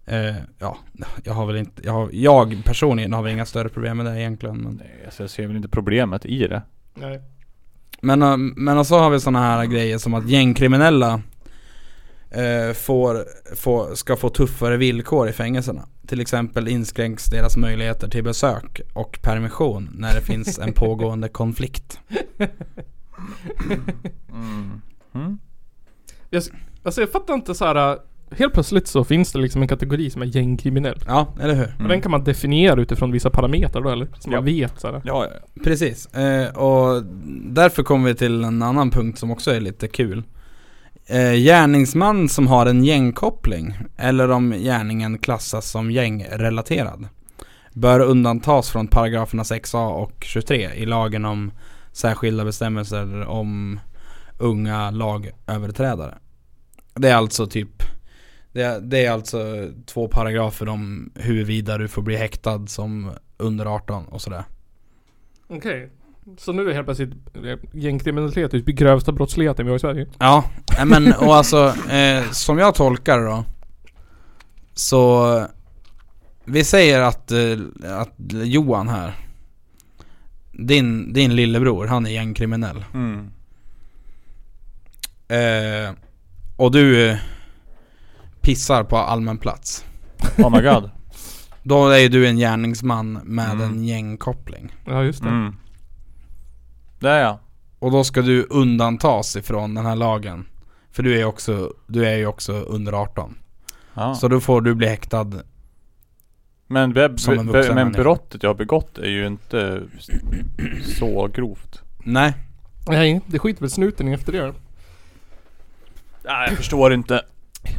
[SPEAKER 5] Eh, ja, jag har väl inte, jag, har, jag personligen har väl inga större problem med det egentligen. Men,
[SPEAKER 4] Nej, alltså jag ser väl inte problemet i det.
[SPEAKER 3] Nej.
[SPEAKER 5] men, eh, men och så har vi sådana här grejer som att gängkriminella eh, får, får, ska få tuffare villkor i fängelserna. Till exempel inskränks deras möjligheter till besök och permission när det finns en pågående konflikt.
[SPEAKER 4] Mm. Mm.
[SPEAKER 3] Alltså jag fattar inte så här. eh, Helt plötsligt så finns det liksom en kategori som är gängkriminell.
[SPEAKER 5] Ja, eller hur?
[SPEAKER 3] Och den kan man definiera utifrån vissa parametrar då eller? Som man vet så här.
[SPEAKER 4] Mm. Ja, ja,
[SPEAKER 5] Precis, eh, och därför kommer vi till en annan punkt som också är lite kul. Eh, gärningsman som har en gängkoppling, eller om gärningen klassas som gängrelaterad, bör undantas från paragraferna 6a och 23 i lagen om särskilda bestämmelser om unga lagöverträdare. Det är alltså typ det är, det är alltså två paragrafer om huruvida du får bli häktad som under 18 och sådär.
[SPEAKER 3] Okej. Så nu är helt plötsligt eh, gängkriminalitet typ grövsta brottsligheten vi har i Sverige.
[SPEAKER 5] Ja, nej men och alltså eh, som jag tolkar det då Så Vi säger att, eh, att Johan här din, din lillebror, han är gängkriminell
[SPEAKER 4] Mm.
[SPEAKER 5] eh, Och du eh, pissar på allmän plats
[SPEAKER 4] Oh my god.
[SPEAKER 5] Då är ju du en gärningsman med
[SPEAKER 4] Mm.
[SPEAKER 5] en gängkoppling
[SPEAKER 3] Ja just det.
[SPEAKER 4] Mm. Där ja.
[SPEAKER 5] Och då ska du undantas ifrån den här lagen För du är ju också, du är ju också under 18
[SPEAKER 4] ja.
[SPEAKER 5] Så då får du bli häktad
[SPEAKER 4] men be,
[SPEAKER 5] Som
[SPEAKER 4] be,
[SPEAKER 5] en
[SPEAKER 4] be,
[SPEAKER 5] vuxen
[SPEAKER 4] men
[SPEAKER 5] människa.
[SPEAKER 4] brottet jag har begått är ju inte s- så grovt.
[SPEAKER 5] Nej
[SPEAKER 3] Nej, det skiter väl snuten i efter det.
[SPEAKER 4] Nej, jag förstår inte.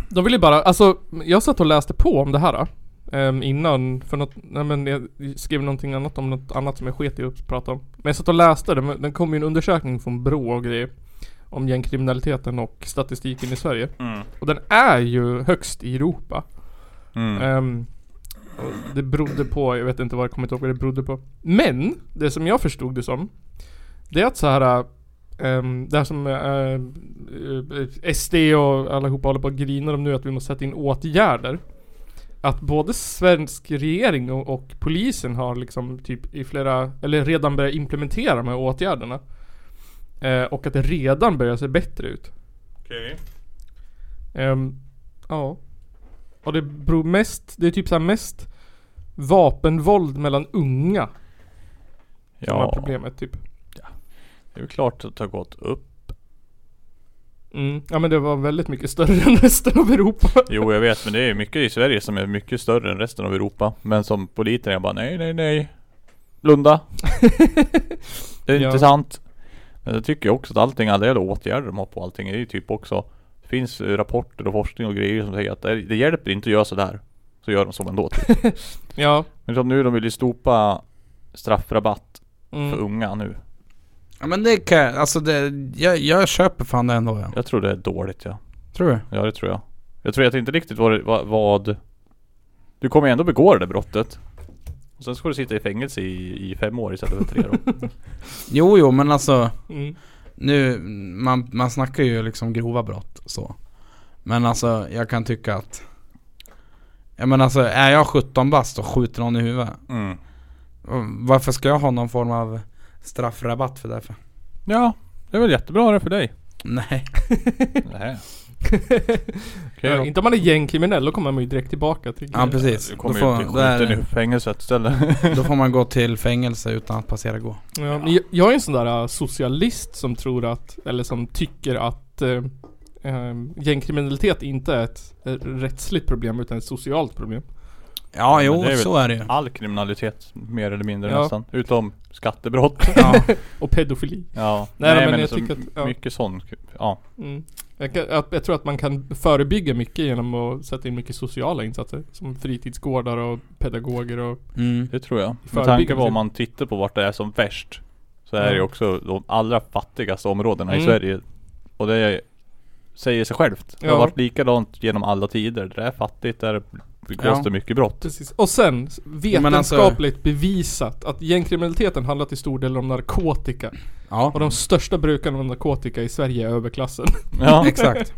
[SPEAKER 3] De ville bara, alltså jag satt och läste på om det här. ehm, innan, för något, nej men jag skrev någonting annat om något annat som jag sket i att prata om. Men jag satt och läste det, men den kom ju en undersökning från Brå och grejer. Om gängkriminaliteten och statistiken i Sverige.
[SPEAKER 4] Mm.
[SPEAKER 3] Och den är ju högst i Europa.
[SPEAKER 4] Mm.
[SPEAKER 3] Ehm, och det berodde på, jag vet inte vad jag kommer inte ihåg vad det berodde på. Men, det som jag förstod det som. Det är att så här. ehm, det här som eh, eh, SD och allihopa håller på och grinar om nu att vi måste sätta in åtgärder. Att både svensk regering och, och polisen har liksom typ i flera, eller redan börjat implementera de här åtgärderna. Eh, och att det redan börjar se bättre ut.
[SPEAKER 4] Okej.
[SPEAKER 3] Ehm, ja. Och det beror mest, det är typ såhär mest vapenvåld mellan unga som är
[SPEAKER 4] Ja,
[SPEAKER 3] problemet typ.
[SPEAKER 4] det är ju klart att det har gått upp.
[SPEAKER 3] Mm. Ja men det var väldigt mycket större än resten av Europa.
[SPEAKER 4] Jo jag vet men det är mycket i Sverige som är mycket större än resten av Europa Men som politiker jag bara nej nej nej Blunda Det är
[SPEAKER 3] Ja.
[SPEAKER 4] inte sant Men jag tycker också att allting, alla jävla åtgärder de har på allting är ju typ också Det finns eh, rapporter och forskning och grejer som säger att det, det hjälper inte att göra sådär Så gör de så ändå typ.
[SPEAKER 3] Ja.
[SPEAKER 4] Men som nu de vill ju slopa straffrabatt för
[SPEAKER 3] Mm.
[SPEAKER 4] unga nu
[SPEAKER 5] Ja men det kan jag, alltså det, jag, jag köper fan det ändå ja.
[SPEAKER 4] Jag tror det är dåligt ja
[SPEAKER 5] Tror du?
[SPEAKER 4] Ja det tror jag Jag tror att det inte riktigt vad, vad, vad Du kommer ju ändå begå det där brottet och sen ska du sitta i fängelse i, i fem år istället för tre då.
[SPEAKER 5] Jo jo men alltså,
[SPEAKER 3] Mm.
[SPEAKER 5] nu, man, man snackar ju liksom grova brott och så Men alltså jag kan tycka att Ja men alltså är jag 17 bast och skjuter någon i huvudet
[SPEAKER 4] Mm.
[SPEAKER 5] Varför ska jag ha någon form av straffrabatt för därför?
[SPEAKER 4] Ja, det är väl jättebra det för dig.
[SPEAKER 5] Nej
[SPEAKER 4] Nej.
[SPEAKER 3] Ja, inte om man är gängkriminell, då kommer man ju direkt tillbaka till
[SPEAKER 5] Ja precis,
[SPEAKER 4] Du
[SPEAKER 5] då
[SPEAKER 4] kommer ju
[SPEAKER 5] får,
[SPEAKER 4] bli
[SPEAKER 5] då, är,
[SPEAKER 4] skjuten i
[SPEAKER 5] det-
[SPEAKER 4] fängelset istället.
[SPEAKER 5] då får man gå till fängelse utan att passera gå
[SPEAKER 3] Ja, men jag- Jag är en sån där äh, socialist som tror att, eller som tycker att eh, eh, gängkriminalitet inte är ett eh, rättsligt problem utan ett socialt problem.
[SPEAKER 5] Ja
[SPEAKER 4] Men
[SPEAKER 5] jo,
[SPEAKER 4] det är väl-
[SPEAKER 5] så är det ju
[SPEAKER 4] All kriminalitet, mer eller mindre
[SPEAKER 3] Ja.
[SPEAKER 4] nästan. Utom skattebrott.
[SPEAKER 5] ja.
[SPEAKER 3] Och pedofili.
[SPEAKER 4] Ja.
[SPEAKER 3] Nej, men jag
[SPEAKER 4] alltså,
[SPEAKER 3] tycker att- ja.
[SPEAKER 4] Mycket sånt. Ja.
[SPEAKER 3] Mm. Jag, kan, jag, jag tror att man kan förebygga mycket genom att sätta in mycket sociala insatser. Som fritidsgårdar och pedagoger och...
[SPEAKER 5] mm.
[SPEAKER 4] Det tror jag. Med
[SPEAKER 3] Förebyggande
[SPEAKER 4] tanke på
[SPEAKER 3] typ.
[SPEAKER 4] om man tittar på vart det är som värst Så är
[SPEAKER 3] Ja.
[SPEAKER 4] det ju också de allra fattigaste områdena
[SPEAKER 3] Mm.
[SPEAKER 4] i Sverige Och det säger sig självt Det
[SPEAKER 3] Ja.
[SPEAKER 4] har varit likadant genom alla tider Där det är fattigt, där begås
[SPEAKER 5] Ja.
[SPEAKER 4] det mycket brott
[SPEAKER 3] Precis. Och sen,
[SPEAKER 5] men alltså-
[SPEAKER 3] vetenskapligt bevisat att gängkriminaliteten handlar till stor del om narkotika. Och
[SPEAKER 5] ja,
[SPEAKER 3] de största brukarna av narkotika i Sverige är överklassen.
[SPEAKER 4] Ja,
[SPEAKER 5] exakt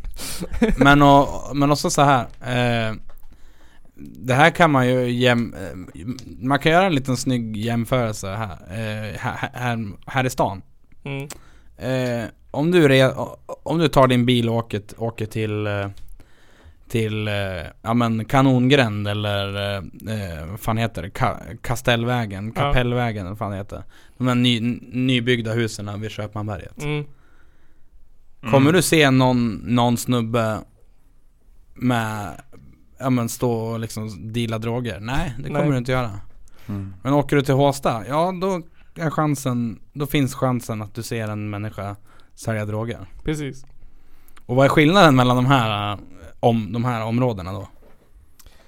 [SPEAKER 5] Men, och, men också så här eh, Det här kan man ju jäm, eh, Man kan göra en liten snygg jämförelse här, eh, här, här, här i stan
[SPEAKER 3] Mm.
[SPEAKER 5] Eh, om, du re, om du tar din bil och åker, åker till eh, Till eh, ja, men Kanongränd eller eh, eh, vad fan heter det? Ka, Kastellvägen,
[SPEAKER 3] Ja.
[SPEAKER 5] Kapellvägen eller vad fan det heter De där ny, nybyggda husen vid Köpmanberget
[SPEAKER 3] Mm.
[SPEAKER 5] Kommer du se någon, någon snubbe med, ja men stå och liksom deala droger? Nej, det kommer
[SPEAKER 3] Nej.
[SPEAKER 5] du inte göra.
[SPEAKER 4] Mm.
[SPEAKER 5] Men åker du till Håsta, ja då är chansen, då finns chansen att du ser en människa sälja droger.
[SPEAKER 3] Precis.
[SPEAKER 5] Och vad är skillnaden mellan de här, eh, om, de här områdena då?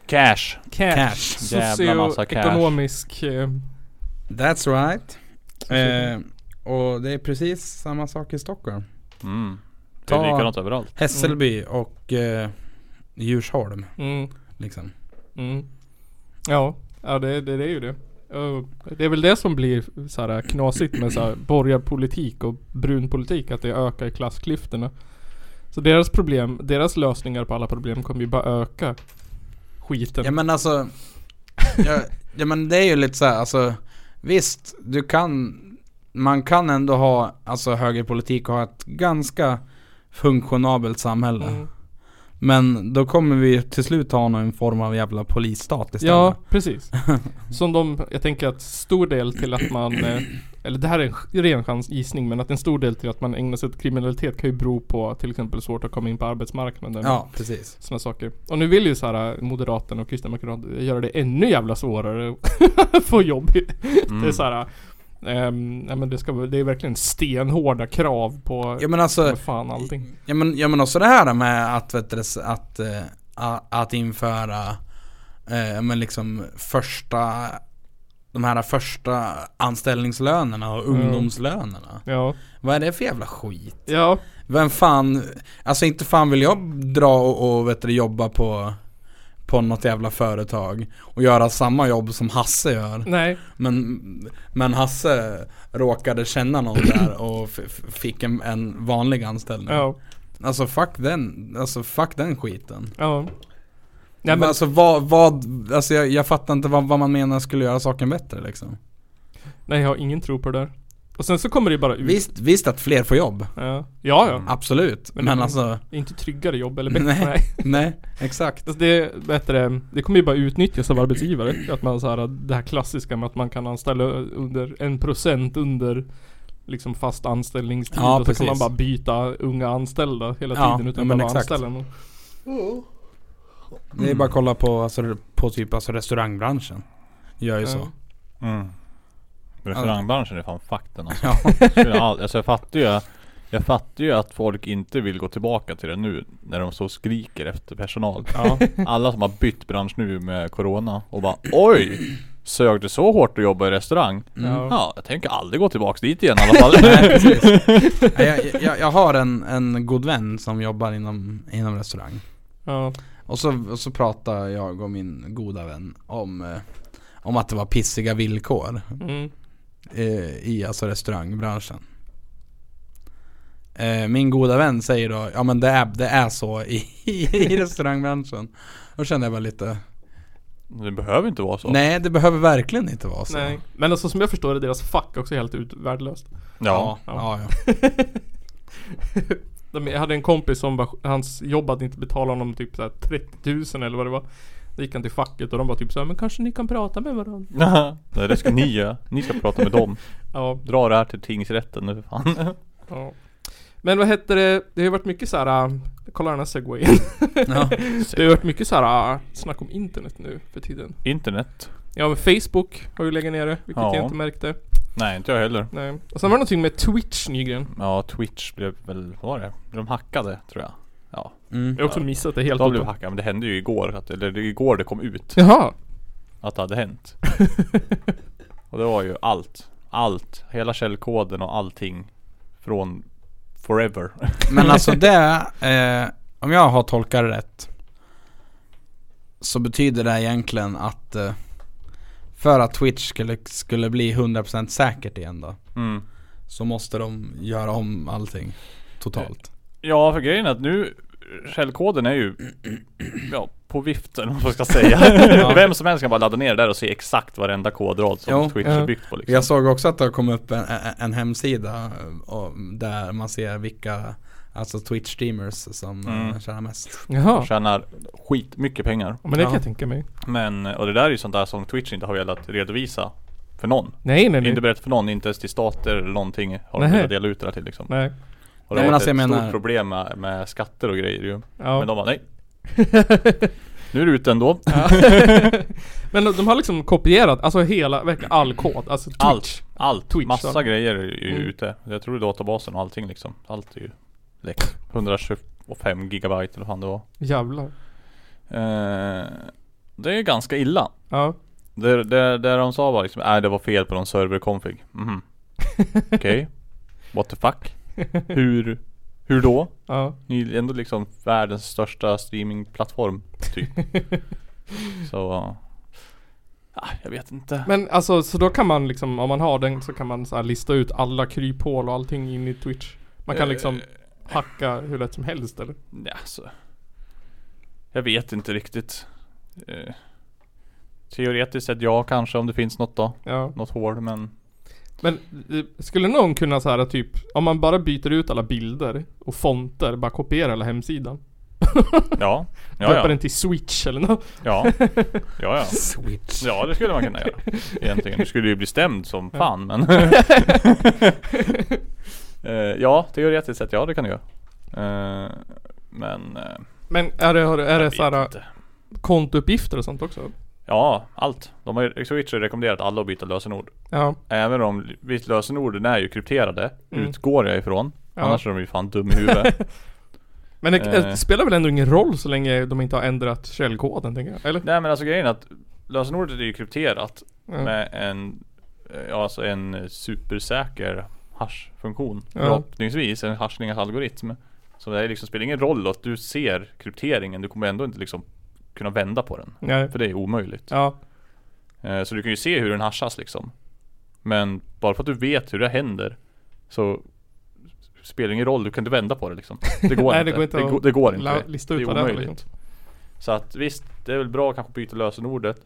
[SPEAKER 4] Cash!
[SPEAKER 3] Cash.
[SPEAKER 5] Cash.
[SPEAKER 4] Jävla massa cash.
[SPEAKER 3] Socioekonomisk... Eh,
[SPEAKER 5] That's right. Eh, och det är precis samma sak i Stockholm.
[SPEAKER 4] Mm. Det
[SPEAKER 5] Ta-
[SPEAKER 4] är likadant överallt
[SPEAKER 5] Hässelby och eh, Djursholm
[SPEAKER 3] mm,
[SPEAKER 5] liksom.
[SPEAKER 3] mm. Ja, ja det, det, det är ju det. Eh, Det är väl det som blir så här knasigt med så här borgarpolitik och brunpolitik, att det ökar klassklyftorna. Så deras problem, deras lösningar på alla problem kommer ju bara öka skiten.
[SPEAKER 5] Ja men alltså, ja, ja men det är ju lite så här, alltså Visst, du kan, man kan ändå ha, alltså högerpolitik och ha ett ganska funktionabelt samhälle
[SPEAKER 3] Mm.
[SPEAKER 5] Men då kommer vi till slut ha någon form av jävla polisstat istället
[SPEAKER 3] Ja, precis. Som de, jag tänker att stor del till att man, eh, eller det här är en sch- ren chans gissning, men att en stor del till att man ägnar sig åt kriminalitet kan ju bero på till exempel svårt att komma in på arbetsmarknaden.
[SPEAKER 5] Ja, precis
[SPEAKER 3] Såna saker. Och nu vill ju så här eh, Moderaterna och Kristdemokraterna göra det ännu jävla svårare att få jobb. Det
[SPEAKER 5] Mm.
[SPEAKER 3] är så här, ehm, nej men det, ska, vara- det är verkligen stenhårda krav på
[SPEAKER 5] Ja men alltså,
[SPEAKER 3] vad fan allting.
[SPEAKER 5] ja men, ja, men också det här med att, vet du, att, eh, a- att införa, eh, ja, men liksom första, de här första anställningslönerna och ungdomslönerna
[SPEAKER 3] Ja,
[SPEAKER 5] Vad är det för jävla skit?
[SPEAKER 3] ja,
[SPEAKER 5] Vem fan, alltså inte fan vill jag dra och, och vet du, jobba på på något jävla företag och göra samma jobb som Hasse gör
[SPEAKER 3] nej,
[SPEAKER 5] Men, men Hasse råkade känna någon där och f- f- fick en, en vanlig anställning
[SPEAKER 3] ja,
[SPEAKER 5] Alltså fuck den, alltså fuck den skiten
[SPEAKER 3] ja. Nej, men,
[SPEAKER 5] Alltså vad, vad, alltså jag, jag fattar inte vad, vad man menar skulle göra saken bättre liksom
[SPEAKER 3] nej jag har ingen tro på det där. Och sen så kommer det bara ut.
[SPEAKER 5] Visst, visst att fler får jobb,
[SPEAKER 3] Ja, ja. ja.
[SPEAKER 5] absolut,
[SPEAKER 3] Men-
[SPEAKER 5] men, alltså,
[SPEAKER 3] Det är inte tryggare jobb eller bättre.
[SPEAKER 5] Nej.
[SPEAKER 3] Nej.
[SPEAKER 5] nej, exakt
[SPEAKER 3] Alltså det, vet du det, det kommer ju bara utnyttjas av arbetsgivare. Att man så här, det här klassiska med att man kan anställa under en procent under liksom fast anställningstid.
[SPEAKER 5] Ja,
[SPEAKER 3] och så
[SPEAKER 5] precis.
[SPEAKER 3] kan man bara byta unga anställda hela
[SPEAKER 5] Ja,
[SPEAKER 3] tiden utan
[SPEAKER 5] men
[SPEAKER 3] att behöva
[SPEAKER 5] exakt.
[SPEAKER 3] anställa någon.
[SPEAKER 5] Det är bara att kolla på, alltså, på typ alltså restaurangbranschen. Gör ju så.
[SPEAKER 4] mm. Restaurangbranschen är fan fucked den alltså.
[SPEAKER 5] Ja.
[SPEAKER 4] Skulle all- alltså jag fattar ju jag fattar ju att folk inte vill gå tillbaka till det nu När de så skriker efter personal
[SPEAKER 5] Ja.
[SPEAKER 4] Alla som har bytt bransch nu med Corona och bara Oj! Sög det så hårt att jobba i restaurang?
[SPEAKER 5] Mm.
[SPEAKER 3] Ja.
[SPEAKER 4] Ja, jag tänker aldrig gå tillbaks dit igen i alla fall
[SPEAKER 5] Nej, Jag, jag, jag har en, en god vän som jobbar inom, inom restaurang.
[SPEAKER 3] Ja.
[SPEAKER 5] Och så, och så pratar jag och min goda vän om, eh, om att det var pissiga villkor
[SPEAKER 3] Mm.
[SPEAKER 5] eh, i alltså restaurangbranschen. Eh, Min goda vän säger då, ja men det är, det är så i, i restaurangbranschen. Då kände jag bara lite,
[SPEAKER 4] Det behöver inte vara så.
[SPEAKER 5] nej det behöver verkligen inte vara så.
[SPEAKER 3] Nej. Men alltså som jag förstår det, deras fack också är helt ut- värdelöst.
[SPEAKER 4] Ja.
[SPEAKER 5] ja, ja.
[SPEAKER 3] De, jag hade en kompis som var, hans jobb hade inte betalat honom typ såhär 30 000 eller vad det var. Då gick han till facket och de var typ såhär, men kanske ni kan prata med varandra?
[SPEAKER 4] Nej det ska ni göra. Ni ska prata med dem.
[SPEAKER 3] Ja,
[SPEAKER 4] Dra det här till tingsrätten nu för fan.
[SPEAKER 3] ja. Men vad heter det? Det har ju varit mycket såhär, äh, kolla den här segwayen.
[SPEAKER 5] ja.
[SPEAKER 3] Det har ju varit mycket såhär, äh, snack om internet nu för tiden.
[SPEAKER 4] Internet?
[SPEAKER 3] Ja men Facebook har ju legat nere, vilket
[SPEAKER 4] Ja.
[SPEAKER 3] jag inte märkte.
[SPEAKER 4] Nej inte jag heller.
[SPEAKER 3] Nej. Och sen var det någonting med Twitch nyligen.
[SPEAKER 4] Ja Twitch blev väl, vad var det? De hackade tror jag. Ja.
[SPEAKER 5] Mm.
[SPEAKER 3] Jag har också missat det helt.
[SPEAKER 4] De blev
[SPEAKER 3] och-
[SPEAKER 4] hackade men det hände ju igår. Att, eller det är igår det kom ut.
[SPEAKER 3] Jaha.
[SPEAKER 4] Att det hade hänt. och det var ju allt. Allt. Hela källkoden och allting. Från Forever.
[SPEAKER 5] Men alltså det, eh, om jag har tolkat det rätt Så betyder det egentligen att eh, För att Twitch skulle, skulle bli 100% säkert igen då
[SPEAKER 4] Mm.
[SPEAKER 5] Så måste de göra om allting Totalt
[SPEAKER 4] Ja, för grejen är att nu Källkoden är ju Ja, på viften om man ska säga Vem som helst kan bara ladda ner det där och se exakt varenda kodrad som
[SPEAKER 5] Jo.
[SPEAKER 4] Twitch
[SPEAKER 3] Ja.
[SPEAKER 4] är byggt på liksom.
[SPEAKER 5] Jag såg också att det har kommit upp en, en- en hemsida eh, och, Där man ser vilka Alltså Twitch streamers som eh,
[SPEAKER 4] Mm.
[SPEAKER 5] tjänar mest
[SPEAKER 3] Jaha.
[SPEAKER 4] Tjänar skitmycket pengar
[SPEAKER 3] Ja, Men det kan
[SPEAKER 5] Ja.
[SPEAKER 3] jag tänka mig.
[SPEAKER 4] Men, och det där är ju sånt där som Twitch inte har velat redovisa För någon
[SPEAKER 3] Nej nej nej.
[SPEAKER 4] Inte berättat för någon, inte ens till stater eller någonting Har de
[SPEAKER 3] Nähä.
[SPEAKER 4] velat dela ut det där till liksom
[SPEAKER 3] Nej.
[SPEAKER 4] Och det är
[SPEAKER 5] Nej, men
[SPEAKER 4] ett
[SPEAKER 5] alltså, jag menar-
[SPEAKER 4] stort problem med, med skatter och grejer ju
[SPEAKER 3] Ja.
[SPEAKER 4] Men de bara nej Nu är det ute ändå
[SPEAKER 3] Men de de har liksom kopierat, alltså hela, verkligen all kod. Alltså Twitch.
[SPEAKER 4] Allt, allt,
[SPEAKER 3] Twitch,
[SPEAKER 4] massa
[SPEAKER 3] sa du.
[SPEAKER 4] grejer är ju
[SPEAKER 3] Mm.
[SPEAKER 4] ute. Jag tror databasen och allting liksom. Allt är ju läckt. 125 gigabyte eller vad fan det var.
[SPEAKER 3] Jävlar.
[SPEAKER 4] Eh, det är ganska illa.
[SPEAKER 3] Ja.
[SPEAKER 4] Det, det, det de sa var liksom, nej det var fel på någon serverkonfig. Mhm. Okej. What the fuck? Hur, hur då?
[SPEAKER 3] Ja.
[SPEAKER 4] Ni är ändå liksom världens största streamingplattform, typ. Så... ah, jag vet inte.
[SPEAKER 3] Men alltså, så då kan man liksom, om man har den så kan man så här lista ut alla kryphål och allting in i Twitch. Man kan liksom
[SPEAKER 4] Eh,
[SPEAKER 3] hacka hur lätt som helst eller?
[SPEAKER 4] Nej, alltså. Jag vet inte riktigt. Eh, teoretiskt sett ja kanske om det finns något då.
[SPEAKER 3] Ja.
[SPEAKER 4] Något hål men.
[SPEAKER 3] Men eh, skulle någon kunna så här typ, om man bara byter ut alla bilder och fonter, bara kopiera hela hemsidan.
[SPEAKER 4] Ja.
[SPEAKER 3] Döpa
[SPEAKER 4] Ja ja.
[SPEAKER 3] den till Switch eller något.
[SPEAKER 4] Ja. ja ja.
[SPEAKER 5] Twitch
[SPEAKER 4] Ja det skulle man kunna göra. Egentligen. Du skulle ju bli stämd som fan men. eh, ja teoretiskt sett ja det kan du göra. Eh, men. Eh,
[SPEAKER 3] Men är det, har det- är det
[SPEAKER 4] jag
[SPEAKER 3] så här
[SPEAKER 4] vet inte.
[SPEAKER 3] kontouppgifter och sånt också?
[SPEAKER 4] Ja allt. De har ju, Switch har ju rekommenderat alla att byta lösenord.
[SPEAKER 3] Ja.
[SPEAKER 4] Även om visst lösenorden är ju krypterade.
[SPEAKER 3] Mm.
[SPEAKER 4] Utgår jag ifrån.
[SPEAKER 3] Ja.
[SPEAKER 4] Annars är de ju fan dum i huvudet.
[SPEAKER 3] Men det,
[SPEAKER 4] Eh.
[SPEAKER 3] det spelar väl ändå ingen roll så länge de inte har ändrat källkoden tänker jag? Eller?
[SPEAKER 4] Nej men alltså grejen är att lösenordet är ju krypterat
[SPEAKER 3] Ja.
[SPEAKER 4] med en, eh, ja, alltså en eh, supersäker hashfunktion.
[SPEAKER 3] Ja.
[SPEAKER 4] Förhoppningsvis en hashningalgoritm. Så det här liksom spelar ingen roll att du ser krypteringen, du kommer ändå inte liksom kunna vända på den.
[SPEAKER 3] Nej.
[SPEAKER 4] För det är omöjligt.
[SPEAKER 3] Ja.
[SPEAKER 4] Eh, Så du kan ju se hur den hashas liksom. Men bara för att du vet hur det händer så spelar det ingen roll, du kan inte vända på det liksom. Det går
[SPEAKER 3] Nej,
[SPEAKER 4] inte.
[SPEAKER 3] det går inte
[SPEAKER 4] det,
[SPEAKER 3] att
[SPEAKER 4] go- det går inte.
[SPEAKER 3] la- lista ut
[SPEAKER 4] det är
[SPEAKER 3] vad det är,
[SPEAKER 4] omöjligt.
[SPEAKER 3] liksom.
[SPEAKER 4] Så att visst, det är väl bra att kanske byta lösenordet.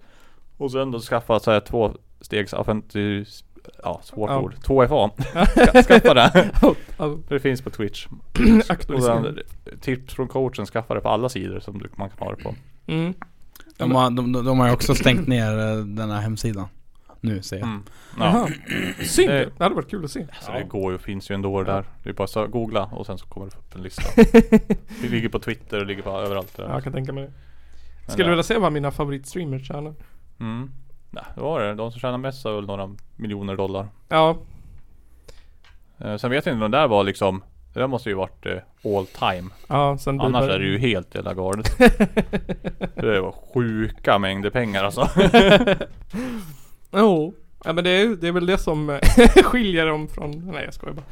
[SPEAKER 4] Och sen då skaffa så här två stegs autentis... Ja, svårt
[SPEAKER 3] Ja.
[SPEAKER 4] ord. 2FA. Ska- skaffa det.
[SPEAKER 3] Ja.
[SPEAKER 4] För det finns på Twitch. Och sen
[SPEAKER 3] Aktualisering.
[SPEAKER 4] tips från coachen, skaffa det på alla sidor som du, man kan ha det på.
[SPEAKER 3] Mm.
[SPEAKER 5] de har, de, de de har ju också stängt ner eh, den här hemsidan Nu ser jag
[SPEAKER 4] Mm. Ja. Eh.
[SPEAKER 3] Jaha. Synd.
[SPEAKER 4] Det-
[SPEAKER 3] Det hade varit kul att se.
[SPEAKER 4] Så det går ju, finns ju ändå det där. Det är bara så googla och sen så kommer det upp en lista. det ligger på Twitter och ligger på överallt. det där.
[SPEAKER 3] Ja, jag kan tänka mig det.
[SPEAKER 4] Men
[SPEAKER 3] Skulle
[SPEAKER 4] ja.
[SPEAKER 3] vilja se vad mina favoritstreamers tjänar.
[SPEAKER 4] Mm. Nej, det var det. De som tjänar mest har väl några miljoner dollar.
[SPEAKER 3] Ja.
[SPEAKER 4] Eh, sen vet jag inte om det där var liksom Det där måste ju varit eh, all time.
[SPEAKER 3] Ja, sen blir
[SPEAKER 4] Annars
[SPEAKER 3] bara-
[SPEAKER 4] är det ju helt jävla galet. det var sjuka mängder pengar alltså.
[SPEAKER 3] Jo. Ja men det är, ju- det är väl det som eh, skiljer dem från... Nej jag skojar bara.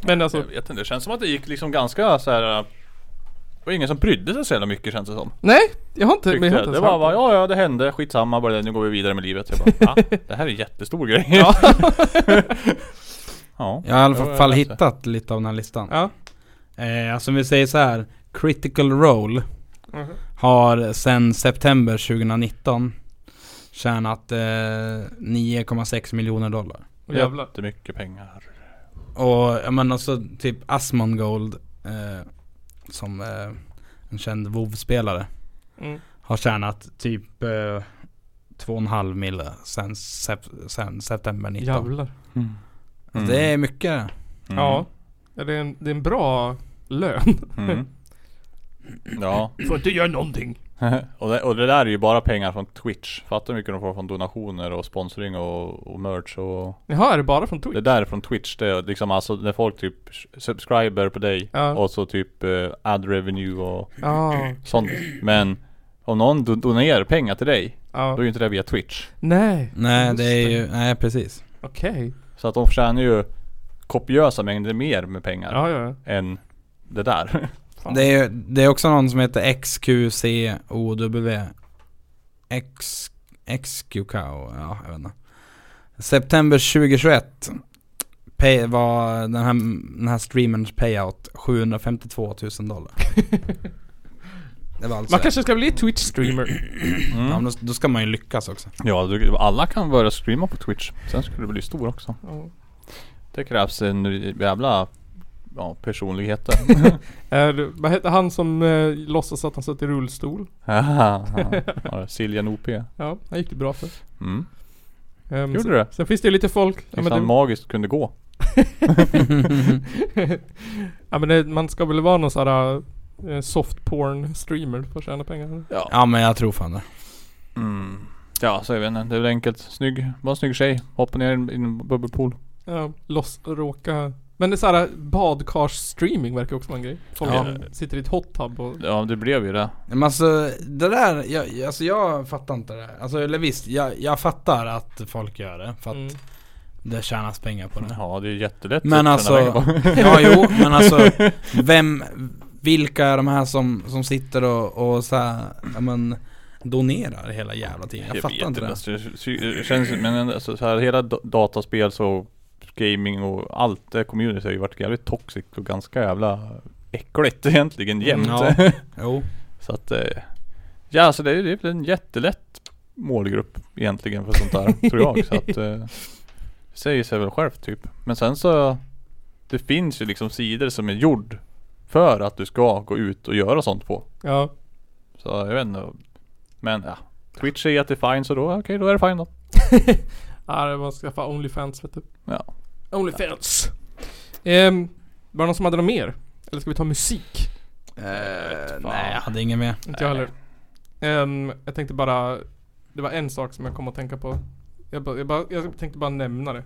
[SPEAKER 3] Men alltså,
[SPEAKER 4] Jag vet inte, det känns som att det gick liksom ganska så här. eh, Det var ingen som brydde sig så jävla mycket känns det som.
[SPEAKER 3] nej! Jag har inte...
[SPEAKER 4] Tyckte
[SPEAKER 3] Men jag har
[SPEAKER 4] jag.
[SPEAKER 3] inte
[SPEAKER 4] Det
[SPEAKER 3] ens
[SPEAKER 4] var
[SPEAKER 3] hört
[SPEAKER 4] bara,
[SPEAKER 3] det.
[SPEAKER 4] ja ja det hände, skitsamma bara det, nu går vi vidare med livet. Jag bara, ja, det här är en jättestor grej. Ja. ja.
[SPEAKER 5] Jag har i alla
[SPEAKER 4] Ja, jag
[SPEAKER 5] fall
[SPEAKER 4] läser.
[SPEAKER 5] hittat lite av den här listan
[SPEAKER 3] Ja.
[SPEAKER 5] Eh, alltså om vi säger så här, Critical Role har sedan september 2019 tjänat eh, 9,6 miljoner dollar.
[SPEAKER 3] Åh, jävlar.
[SPEAKER 4] Jättemycket pengar.
[SPEAKER 5] Och jag menar så typ Asmongold eh, som eh, en känd WoW-spelare
[SPEAKER 3] Mm.
[SPEAKER 5] har tjänat typ eh, 2,5 mille sen, sep- sen september 19.
[SPEAKER 3] Jävlar.
[SPEAKER 5] Alltså, Det är mycket.
[SPEAKER 4] Mm.
[SPEAKER 3] Ja. ja det, är en, det är en bra lön.
[SPEAKER 4] Mm. Ja.
[SPEAKER 3] Får inte göra någonting.
[SPEAKER 4] och, det, och det där är ju bara pengar från Twitch. Fattar hur mycket de får från donationer och sponsring och, och merch och...
[SPEAKER 3] Jaha, är det bara från
[SPEAKER 4] Det
[SPEAKER 3] Twitch?
[SPEAKER 4] där är från Twitch. Det är liksom alltså när folk typ subscriber på dig.
[SPEAKER 3] Ja.
[SPEAKER 4] Och så typ eh, ad revenue och
[SPEAKER 3] Ja.
[SPEAKER 4] sånt. Men om någon do- donerar pengar till dig. Då är
[SPEAKER 3] ja.
[SPEAKER 4] ju inte det via Twitch.
[SPEAKER 3] Nej,
[SPEAKER 5] Nej
[SPEAKER 3] Just
[SPEAKER 5] det är
[SPEAKER 3] det.
[SPEAKER 5] ju, nej precis.
[SPEAKER 3] okej.
[SPEAKER 4] Så att de tjänar ju kopiösa mängder mer med pengar.
[SPEAKER 3] Ja, ja.
[SPEAKER 4] Än det där.
[SPEAKER 3] Fan.
[SPEAKER 5] Det är, det är också någon som heter XQCOW X, XQK, ja jag vet inte. September 2021 pay, var den här, den här streamerns payout 752 000 dollar. det var alltså,
[SPEAKER 3] Man kanske ska bli Twitch-streamer.
[SPEAKER 5] ja, men
[SPEAKER 4] Mm.
[SPEAKER 5] då, då ska man ju lyckas också.
[SPEAKER 4] Ja, du, alla kan börja streama på Twitch. Sen skulle du bli stor också.
[SPEAKER 3] Ja.
[SPEAKER 4] Det krävs en jävla ja, personligheter.
[SPEAKER 3] Är det- Eh, Vad heter han som eh, låtsas att han sitter i rullstol?
[SPEAKER 4] Haha. Ja, Siljan OP.
[SPEAKER 3] Ja, han gick det bra för.
[SPEAKER 4] Mm.
[SPEAKER 3] Ehm,
[SPEAKER 4] Gjorde
[SPEAKER 3] sen,
[SPEAKER 4] det?
[SPEAKER 3] sen finns det ju lite folk. Ja
[SPEAKER 4] Tills
[SPEAKER 3] men,
[SPEAKER 4] han
[SPEAKER 3] det,
[SPEAKER 4] magiskt kunde gå.
[SPEAKER 3] ja, men det, man ska väl vara någon sån här eh, soft porn streamer för att tjäna pengar.
[SPEAKER 5] Ja men jag tror fan det.
[SPEAKER 4] Mm. Ja, så jag vet inte. Det är väl enkelt. Snygg. Var en snygg tjej. Hoppa ner i en- i en bubbelpool.
[SPEAKER 3] Ja, loss, råka. Men det är såhär badkars-streaming verkar också vara en grej. Folk
[SPEAKER 5] Ja.
[SPEAKER 3] som sitter i ett hot tub och...
[SPEAKER 4] Ja, det blev ju det.
[SPEAKER 5] Men alltså det där, jag, alltså jag fattar inte det där. Alltså eller visst, jag, jag fattar att folk gör det för att
[SPEAKER 3] Mm.
[SPEAKER 5] det tjänas pengar på det.
[SPEAKER 4] Ja, det är jättelätt.
[SPEAKER 5] Men
[SPEAKER 4] att
[SPEAKER 5] alltså-
[SPEAKER 4] tjäna pengar på.
[SPEAKER 5] Ja jo, men alltså vem, vilka är de här som, som sitter och, och så här, ja men donerar hela jävla tiden? Jag, fattar inte det.
[SPEAKER 4] alltså, det känns, men alltså, så här, hela da- dataspel så gaming och allt det community har ju varit jävligt toxic och ganska jävla äckligt egentligen jämt.
[SPEAKER 5] Ja. Jo.
[SPEAKER 4] så att eh, ja alltså det är ju det är en jättelätt målgrupp egentligen för sånt där tror jag. Så att eh, det säger sig väl självt typ. Men sen så det finns ju liksom sidor som är gjord för att du ska gå ut och göra sånt på.
[SPEAKER 3] Ja.
[SPEAKER 4] Så jag vet inte. Men ja. Twitch säger att det är fine så då okej då är det fine då.
[SPEAKER 3] Ja, det var att skaffa Onlyfans vet du.
[SPEAKER 4] Ja.
[SPEAKER 3] Onlyfans. Ehm, var det någon som hade något mer? Eller ska vi ta musik?
[SPEAKER 5] Eh, nej jag hade ingen mer.
[SPEAKER 3] Inte jag heller. Ehm, jag tänkte bara... Det var en sak som jag kom att tänka på. Jag, bara, jag, bara, jag tänkte bara nämna det.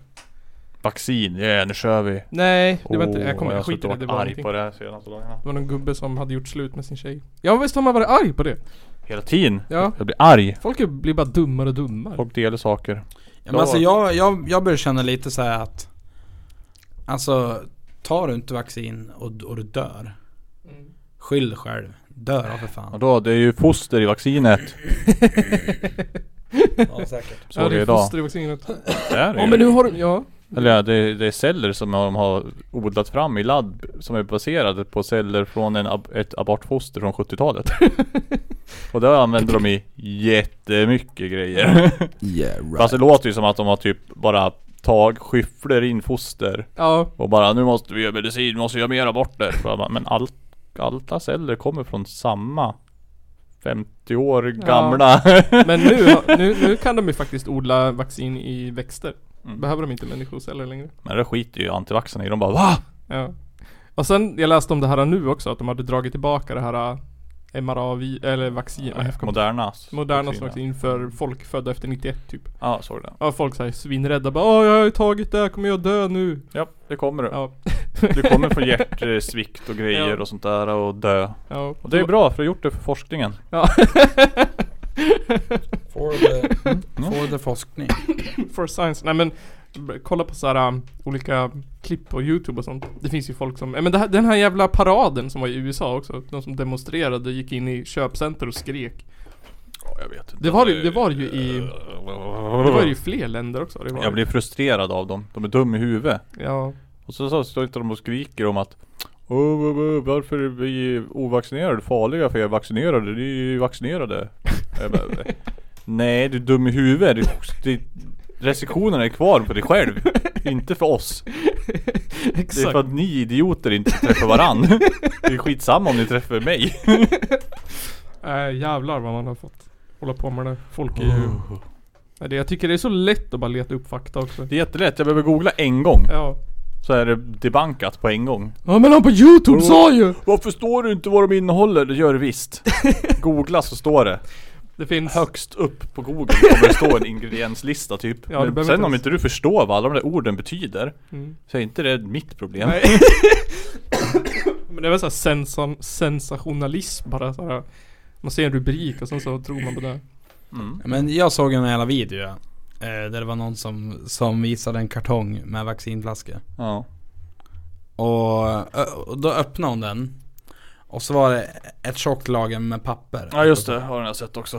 [SPEAKER 4] Vaccin, ja nu kör vi.
[SPEAKER 3] Nej, det var inte
[SPEAKER 4] Åh,
[SPEAKER 3] Jag kommer
[SPEAKER 4] har
[SPEAKER 3] jag
[SPEAKER 4] suttit
[SPEAKER 3] skiter i
[SPEAKER 4] och
[SPEAKER 3] det. Det
[SPEAKER 4] varit
[SPEAKER 3] var,
[SPEAKER 4] arg
[SPEAKER 3] någonting.
[SPEAKER 4] på det här senaste dagarna.
[SPEAKER 3] det var någon gubbe som hade gjort slut med sin tjej. Ja visst har man varit arg på det?
[SPEAKER 4] Hela tiden.
[SPEAKER 3] Ja.
[SPEAKER 4] Jag blir arg.
[SPEAKER 3] Folk är- blir bara dummare och dummare.
[SPEAKER 4] Folk delar saker.
[SPEAKER 5] Ja, men alltså jag, jag, jag börjar känna lite så här att Alltså tar du inte vaccin och, och du dör Mm. Skyll dig själv. Dör då för
[SPEAKER 4] Ja,
[SPEAKER 5] fan.
[SPEAKER 4] då, det är ju foster i vaccinet.
[SPEAKER 5] Ja säkert.
[SPEAKER 4] Såg
[SPEAKER 3] ja, det
[SPEAKER 4] jag
[SPEAKER 3] är
[SPEAKER 4] idag.
[SPEAKER 3] foster i vaccinet.
[SPEAKER 4] Det är det
[SPEAKER 3] Ja
[SPEAKER 4] ju.
[SPEAKER 3] men nu har de... Ja.
[SPEAKER 4] Eller ja, det, det är celler som de har odlat fram i labb som är baserade på celler från en ab- ett abortfoster från 70-talet. och det använder de i jättemycket grejer.
[SPEAKER 5] Yeah right.
[SPEAKER 4] Fast det låter ju som att de har typ bara tag, skyfflar in foster
[SPEAKER 3] Ja.
[SPEAKER 4] Och bara nu måste vi göra medicin, vi måste göra mer aborter. Så jag bara, Men allt, alla celler kommer från samma 50 år gamla.
[SPEAKER 3] Men nu, har- nu, nu kan de ju faktiskt odla vaccin i växter.
[SPEAKER 4] Mm.
[SPEAKER 3] Behöver de inte människoceller längre.
[SPEAKER 4] Men det skiter ju antivaxarna i. De bara va?
[SPEAKER 3] Ja. Och sen, jag läste om det här nu också, att de hade dragit tillbaka det här äh, mra vi- eller vaccin, vad heter det?
[SPEAKER 4] Moderna.
[SPEAKER 3] Moderna som vaccin för folk födda efter 91 typ.
[SPEAKER 4] Ja, såg det.
[SPEAKER 3] Ja, folk såhär svinrädda bara Åh jag har ju tagit det, här, kommer jag dö nu?
[SPEAKER 4] Ja, det kommer du.
[SPEAKER 3] Ja.
[SPEAKER 4] Du kommer från hjärtsvikt och grejer
[SPEAKER 3] Ja.
[SPEAKER 4] och sånt där och dö.
[SPEAKER 3] ja.
[SPEAKER 4] Och det är bra för du har gjort det för forskningen.
[SPEAKER 3] Ja.
[SPEAKER 5] For the,
[SPEAKER 4] Ja.
[SPEAKER 5] for the forskning.
[SPEAKER 3] For science. Nej men, b- kolla på såhär um, olika klipp på youtube och sånt. Det finns ju folk som, ja, men det här, den här jävla paraden som var i USA också. De som demonstrerade gick in i köpcenter och skrek.
[SPEAKER 4] jag vet inte.
[SPEAKER 3] Det var ju- det var ju i- Det var ju i fler länder också. Det var,
[SPEAKER 4] Jag blir frustrerad av dem. De är dumma i huvudet.
[SPEAKER 3] Ja.
[SPEAKER 4] Och så, så står inte de och skriker om att "Åh, åh, åh, varför är vi ovaccinerade farliga för er vaccinerade? Ni är ju vaccinerade. Jag bara, Nej du är dum i huvudet. Du- Det, restriktionerna är kvar för dig själv. Inte för oss. Det är
[SPEAKER 3] Exakt.
[SPEAKER 4] för att ni idioter inte träffar varann. Det är skitsamma om ni träffar mig.
[SPEAKER 3] Nej Äh, jävlar vad man har fått hålla på med det. Folk är ju...
[SPEAKER 4] Oh.
[SPEAKER 3] Nej, det, jag tycker det är så lätt att bara leta upp fakta också.
[SPEAKER 4] Det är jättelätt. Jag behöver googla en gång.
[SPEAKER 3] Ja.
[SPEAKER 4] Så är det debankat på en gång.
[SPEAKER 3] Ja men han på youtube sa ju!
[SPEAKER 4] Varför står du inte vad de innehåller? Det gör det visst. Googla så står det.
[SPEAKER 3] Det finns...
[SPEAKER 4] Högst upp på google kommer det stå en ingredienslista typ.
[SPEAKER 3] Ja, det
[SPEAKER 4] Men
[SPEAKER 3] behöver
[SPEAKER 4] sen
[SPEAKER 3] inte
[SPEAKER 4] om
[SPEAKER 3] ens-
[SPEAKER 4] inte du förstår vad alla de där orden betyder.
[SPEAKER 3] Mm.
[SPEAKER 4] Så är inte det mitt problem.
[SPEAKER 3] Nej. Men det var såhär sensan, sensationalism bara såhär. Man ser en rubrik och sen så tror man på det.
[SPEAKER 5] Men jag såg en jävla video ja. eh, Där det var någon som, som visade en kartong med vaccinflaskor
[SPEAKER 4] Ja.
[SPEAKER 5] och, ö- och då öppnade hon den Och så var det ett tjockt lager med papper
[SPEAKER 4] ja just det, har den jag sett också.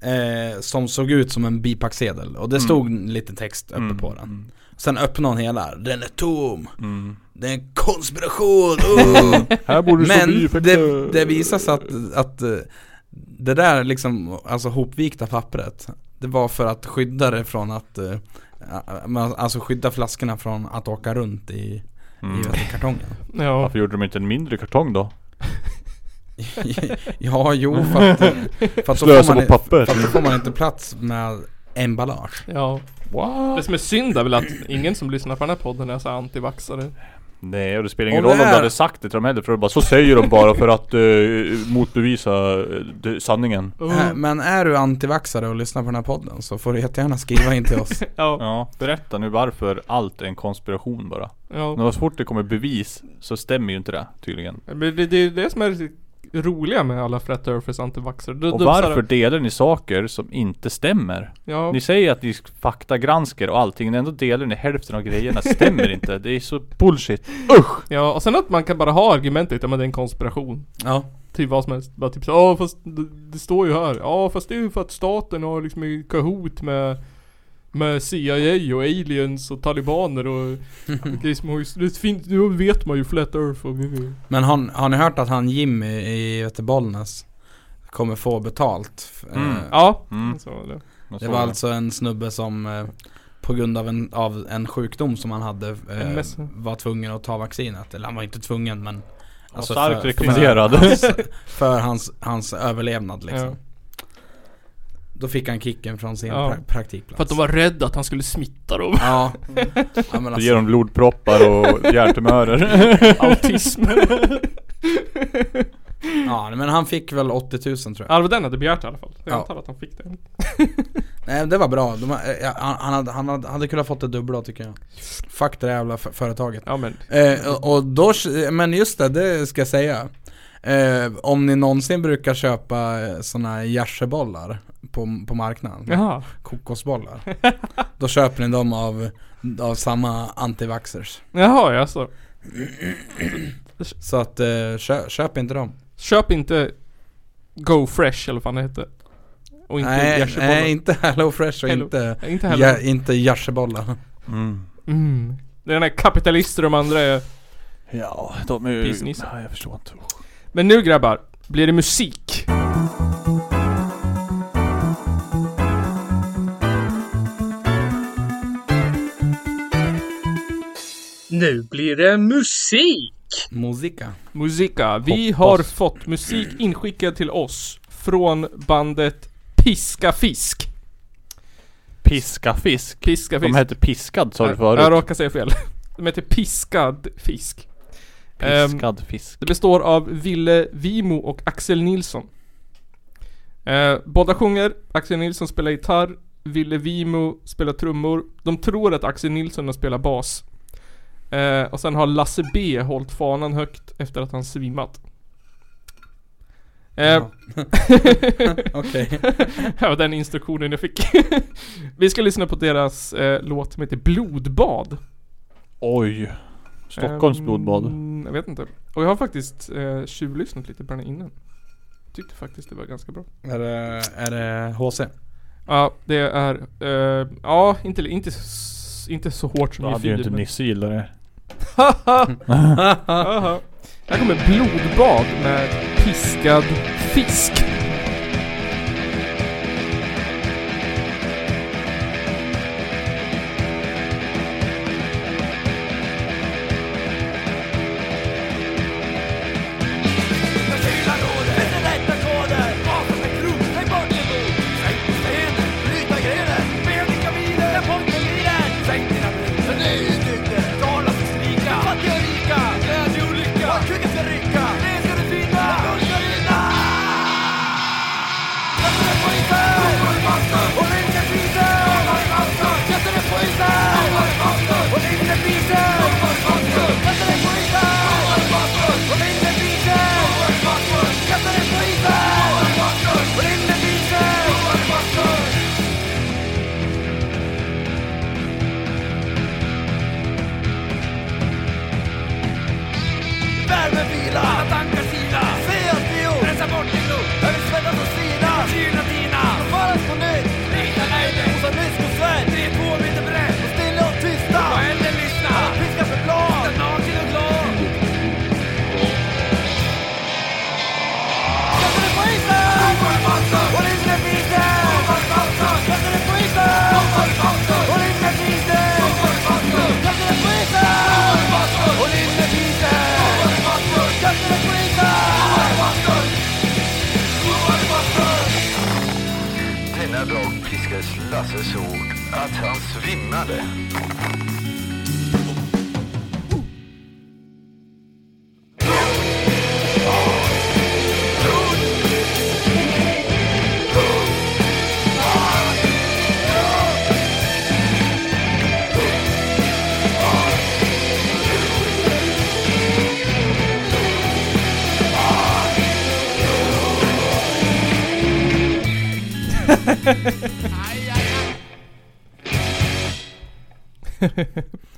[SPEAKER 5] eh, Som såg ut som en bipacksedel och det stod lite text uppe på den Sen öppnade hon hela, den är tom Det är en konspiration! Uh!
[SPEAKER 4] Mm. Här borde
[SPEAKER 5] Men det, det visar sig att, att eh, det där liksom, alltså hopvikta pappret Det var för att skydda det från att eh, a- men Alltså skydda flaskorna från att åka runt i, i kartongen
[SPEAKER 3] Ja.
[SPEAKER 4] Varför gjorde de inte en mindre kartong då?
[SPEAKER 5] Ja, jo för att, för att, då,
[SPEAKER 4] Slösa
[SPEAKER 5] får
[SPEAKER 4] på
[SPEAKER 5] man, i-
[SPEAKER 4] papper.
[SPEAKER 5] för att då får man inte plats med emballage
[SPEAKER 3] Ja. Det som är synd är väl att ingen som lyssnar på den här podden är såhär antivaxare.
[SPEAKER 4] Nej och det spelar ingen
[SPEAKER 5] Om
[SPEAKER 4] roll
[SPEAKER 5] det
[SPEAKER 4] om
[SPEAKER 5] är-
[SPEAKER 4] du hade sagt det till dem heller för de bara så säger de bara för att eh, motbevisa eh, det- sanningen.
[SPEAKER 5] Äh,
[SPEAKER 3] Mm,
[SPEAKER 5] Men är du antivaxare och lyssnar på den här podden så får du jättegärna skriva in till oss
[SPEAKER 3] Ja.
[SPEAKER 4] Ja, berätta nu varför allt är en konspiration bara.
[SPEAKER 3] Ja.
[SPEAKER 4] Men så fort det kommer bevis så stämmer ju inte det tydligen.
[SPEAKER 3] Men det, det är ju det som är riktigt roliga med alla flat earthers antivaxare. De-
[SPEAKER 4] Och
[SPEAKER 3] de så här-
[SPEAKER 4] varför delar ni saker som inte stämmer?
[SPEAKER 3] Ja.
[SPEAKER 4] Ni säger att ni faktagranskar och allting, men ändå delar ni hälften av grejerna stämmer inte. Det är så bullshit.
[SPEAKER 3] ja. Och sen att man kan bara ha argumentet att det är en konspiration.
[SPEAKER 5] Ja,
[SPEAKER 3] Typ vad som helst. Bara typ så, ja fast det, det står ju här. Ja fast det är ju för att staten har liksom i kahoot med med CIA och aliens och talibaner och liksom, har ju- det finns, nu vet man ju flat earth och
[SPEAKER 5] Men har, har ni hört att han Jimmy i Göteborgsnäs kommer få betalt? Eh,
[SPEAKER 4] Mm.
[SPEAKER 3] Ja.
[SPEAKER 4] Mm.
[SPEAKER 3] Så, var det.
[SPEAKER 5] Det var alltså en snubbe som eh, på grund av en, av en sjukdom som han hade
[SPEAKER 3] En
[SPEAKER 5] eh,
[SPEAKER 3] mässa.
[SPEAKER 5] var tvungen att ta vaccinet. Eller han var inte tvungen men alltså,
[SPEAKER 4] starkt
[SPEAKER 5] för-
[SPEAKER 4] rekommenderad.
[SPEAKER 5] För, hans, för hans, hans överlevnad liksom.
[SPEAKER 3] Ja.
[SPEAKER 5] Då fick han kicken från sin
[SPEAKER 3] Ja.
[SPEAKER 5] pra- praktikplats.
[SPEAKER 3] För att de var rädda att han skulle smitta dem.
[SPEAKER 5] Ja. ja men
[SPEAKER 4] Då ger
[SPEAKER 5] alltså,
[SPEAKER 4] de blodproppar och hjärtumörer.
[SPEAKER 3] Autism.
[SPEAKER 5] ja men han fick väl 80 000 tror jag.
[SPEAKER 3] Arvoden hade begärt det i alla fall. Jag
[SPEAKER 5] Ja.
[SPEAKER 3] antar att han fick det.
[SPEAKER 5] Nej det var bra. De, har- eh, han, han, hade, han hade, hade kunnat fått det dubbla tycker jag. Fuck det där jävla f- företaget.
[SPEAKER 3] Ja men.
[SPEAKER 5] Eh, och- och då, men just det, det ska jag säga. Eh, om ni någonsin brukar köpa eh, sådana järsebollar på, på marknaden,
[SPEAKER 3] Jaha.
[SPEAKER 5] kokosbollar. då köper ni dem av, av samma antivaxers.
[SPEAKER 3] Jaha ja alltså. så.
[SPEAKER 5] Så att eh, kö, köp inte dem.
[SPEAKER 3] Köp inte Go Fresh eller vad fan det hette. Och inte
[SPEAKER 5] Nej,
[SPEAKER 3] Jersey
[SPEAKER 5] nej, inte Hello Fresh och
[SPEAKER 3] Hello-
[SPEAKER 5] inte,
[SPEAKER 3] Inte heller.
[SPEAKER 5] ja, inte järsebollar.
[SPEAKER 4] Mm.
[SPEAKER 3] Mm. Det är den här kapitalister och de andra är.
[SPEAKER 4] Ja, de är ju...
[SPEAKER 3] Pissnissar.
[SPEAKER 4] Nej, jag förstår inte.
[SPEAKER 3] Men nu grabbar, blir det musik?
[SPEAKER 9] Nu blir det musik!
[SPEAKER 5] Musika.
[SPEAKER 3] Musika. Vi har fått musik inskickad till oss från bandet Piska Fisk.
[SPEAKER 4] Piska fisk.
[SPEAKER 3] Piska Fisk.
[SPEAKER 4] De hette piskad sa du
[SPEAKER 3] Jag
[SPEAKER 4] förut.
[SPEAKER 3] råkade säga fel. De heter Piskad Fisk. Ehm,
[SPEAKER 4] Piskad fisk.
[SPEAKER 3] Det består av Ville Vimo och Axel Nilsson. Eh, båda sjunger, Axel Nilsson spelar gitarr, Ville Vimo spelar trummor. De tror att Axel Nilsson har spelat bas. Eh, och sen har Lasse B hållit fanan högt efter att han svimmat. Eh,
[SPEAKER 5] Ja. Okej.
[SPEAKER 3] det var den instruktionen jag fick. Vi ska lyssna på deras eh, låt som heter Blodbad.
[SPEAKER 4] Oj. Stockholms
[SPEAKER 3] Ehm,
[SPEAKER 4] blodbad.
[SPEAKER 3] Jag vet inte. Och jag har faktiskt eh, tjuvlyssnat lite på den innan. Tyckte faktiskt det var ganska bra.
[SPEAKER 5] Är det, är det HC?
[SPEAKER 3] Ja, det är... Eh, ja, inte, inte, s- inte så hårt som
[SPEAKER 4] Då
[SPEAKER 3] i
[SPEAKER 4] hade ju
[SPEAKER 3] Filip.
[SPEAKER 4] inte
[SPEAKER 3] men-
[SPEAKER 4] Nisse gillat det.
[SPEAKER 3] Aha. Här kommer blodbad med piskad fisk.
[SPEAKER 5] Denna dag piskades Lasse så hårt att han svimmade.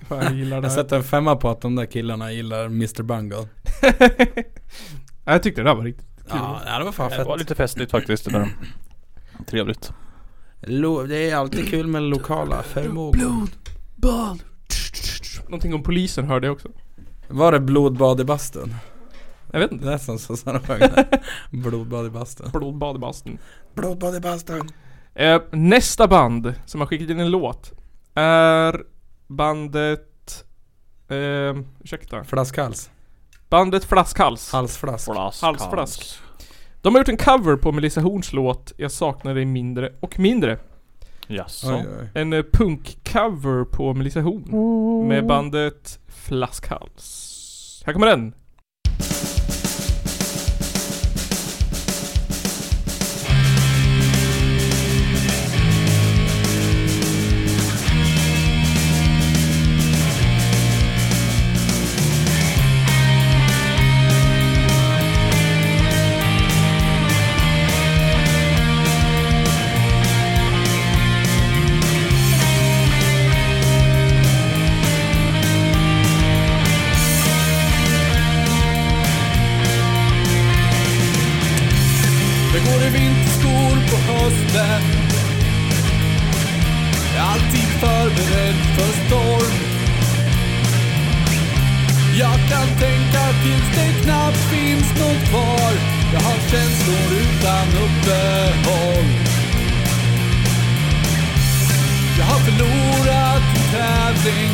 [SPEAKER 3] Fan, jag gillar det
[SPEAKER 5] Alltså
[SPEAKER 10] Jag
[SPEAKER 3] här.
[SPEAKER 10] sätter en femma på att de där killarna gillar Mr Bungle
[SPEAKER 3] Ja, jag tyckte det där var riktigt kul.
[SPEAKER 10] Ja, ja, det var fan
[SPEAKER 4] Det var
[SPEAKER 10] fett
[SPEAKER 4] lite festligt faktiskt det där. Trevligt.
[SPEAKER 10] Lo- Det är alltid kul med lokala förmågor
[SPEAKER 3] Bad. Någonting om polisen hörde jag också.
[SPEAKER 10] Var det blodbad i bastun?
[SPEAKER 3] Jag vet inte.
[SPEAKER 10] Det är som Susanna sjöng där. Blodbad i bastun
[SPEAKER 3] Blodbad i bastun.
[SPEAKER 10] Blodbad i bastun
[SPEAKER 3] Eh, nästa band som har skickat in en låt är bandet... Eh, ursäkta.
[SPEAKER 10] Flaskhals
[SPEAKER 3] Bandet Flaskhals.
[SPEAKER 10] Halsflask
[SPEAKER 4] Flask.
[SPEAKER 3] Halsflask. De har gjort en cover på Melissa Horns låt 'Jag saknar dig mindre och mindre'
[SPEAKER 4] Jaså?
[SPEAKER 10] Oj, oj.
[SPEAKER 3] En eh, punkcover på Melissa Horn med bandet Flaskhals. Här kommer den!
[SPEAKER 5] Det går i vinterskor på hösten Jag är alltid förberedd för storm Jag kan tänka tills det knappt finns något kvar Jag har känslor utan uppehåll Jag har förlorat en tävling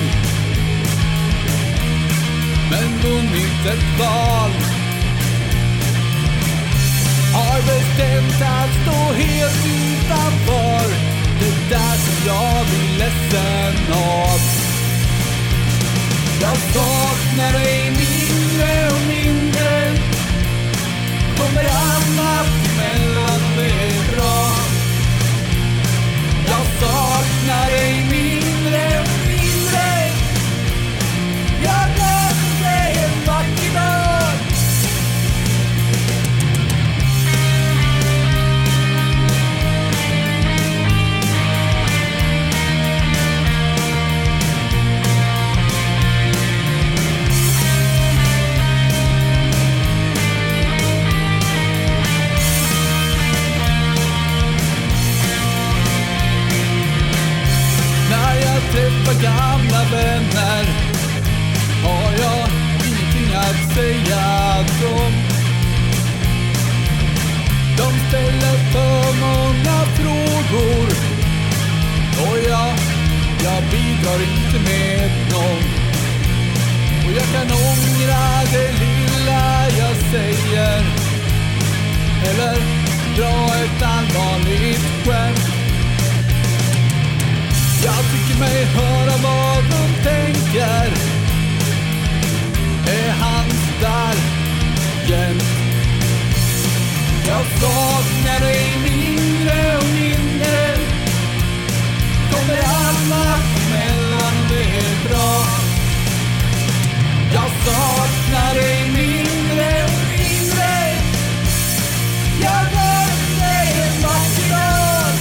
[SPEAKER 5] Men vunnit ett val har bestämt att stå helt utanför Det där som jag blir ledsen av Jag saknar dig mindre och mindre Kommer annat emellan, det är bra Jag saknar dig mindre och mindre Jag läser dig en vacker dag
[SPEAKER 11] dra ett allvarligt skämt. Jag tycker mig höra vad de tänker. Är han där jämt? Jag saknar dig mindre och mindre. Kommer alla emellan och det är bra. Jag saknar dig mindre och mindre. Jag gav dig en vacker dag.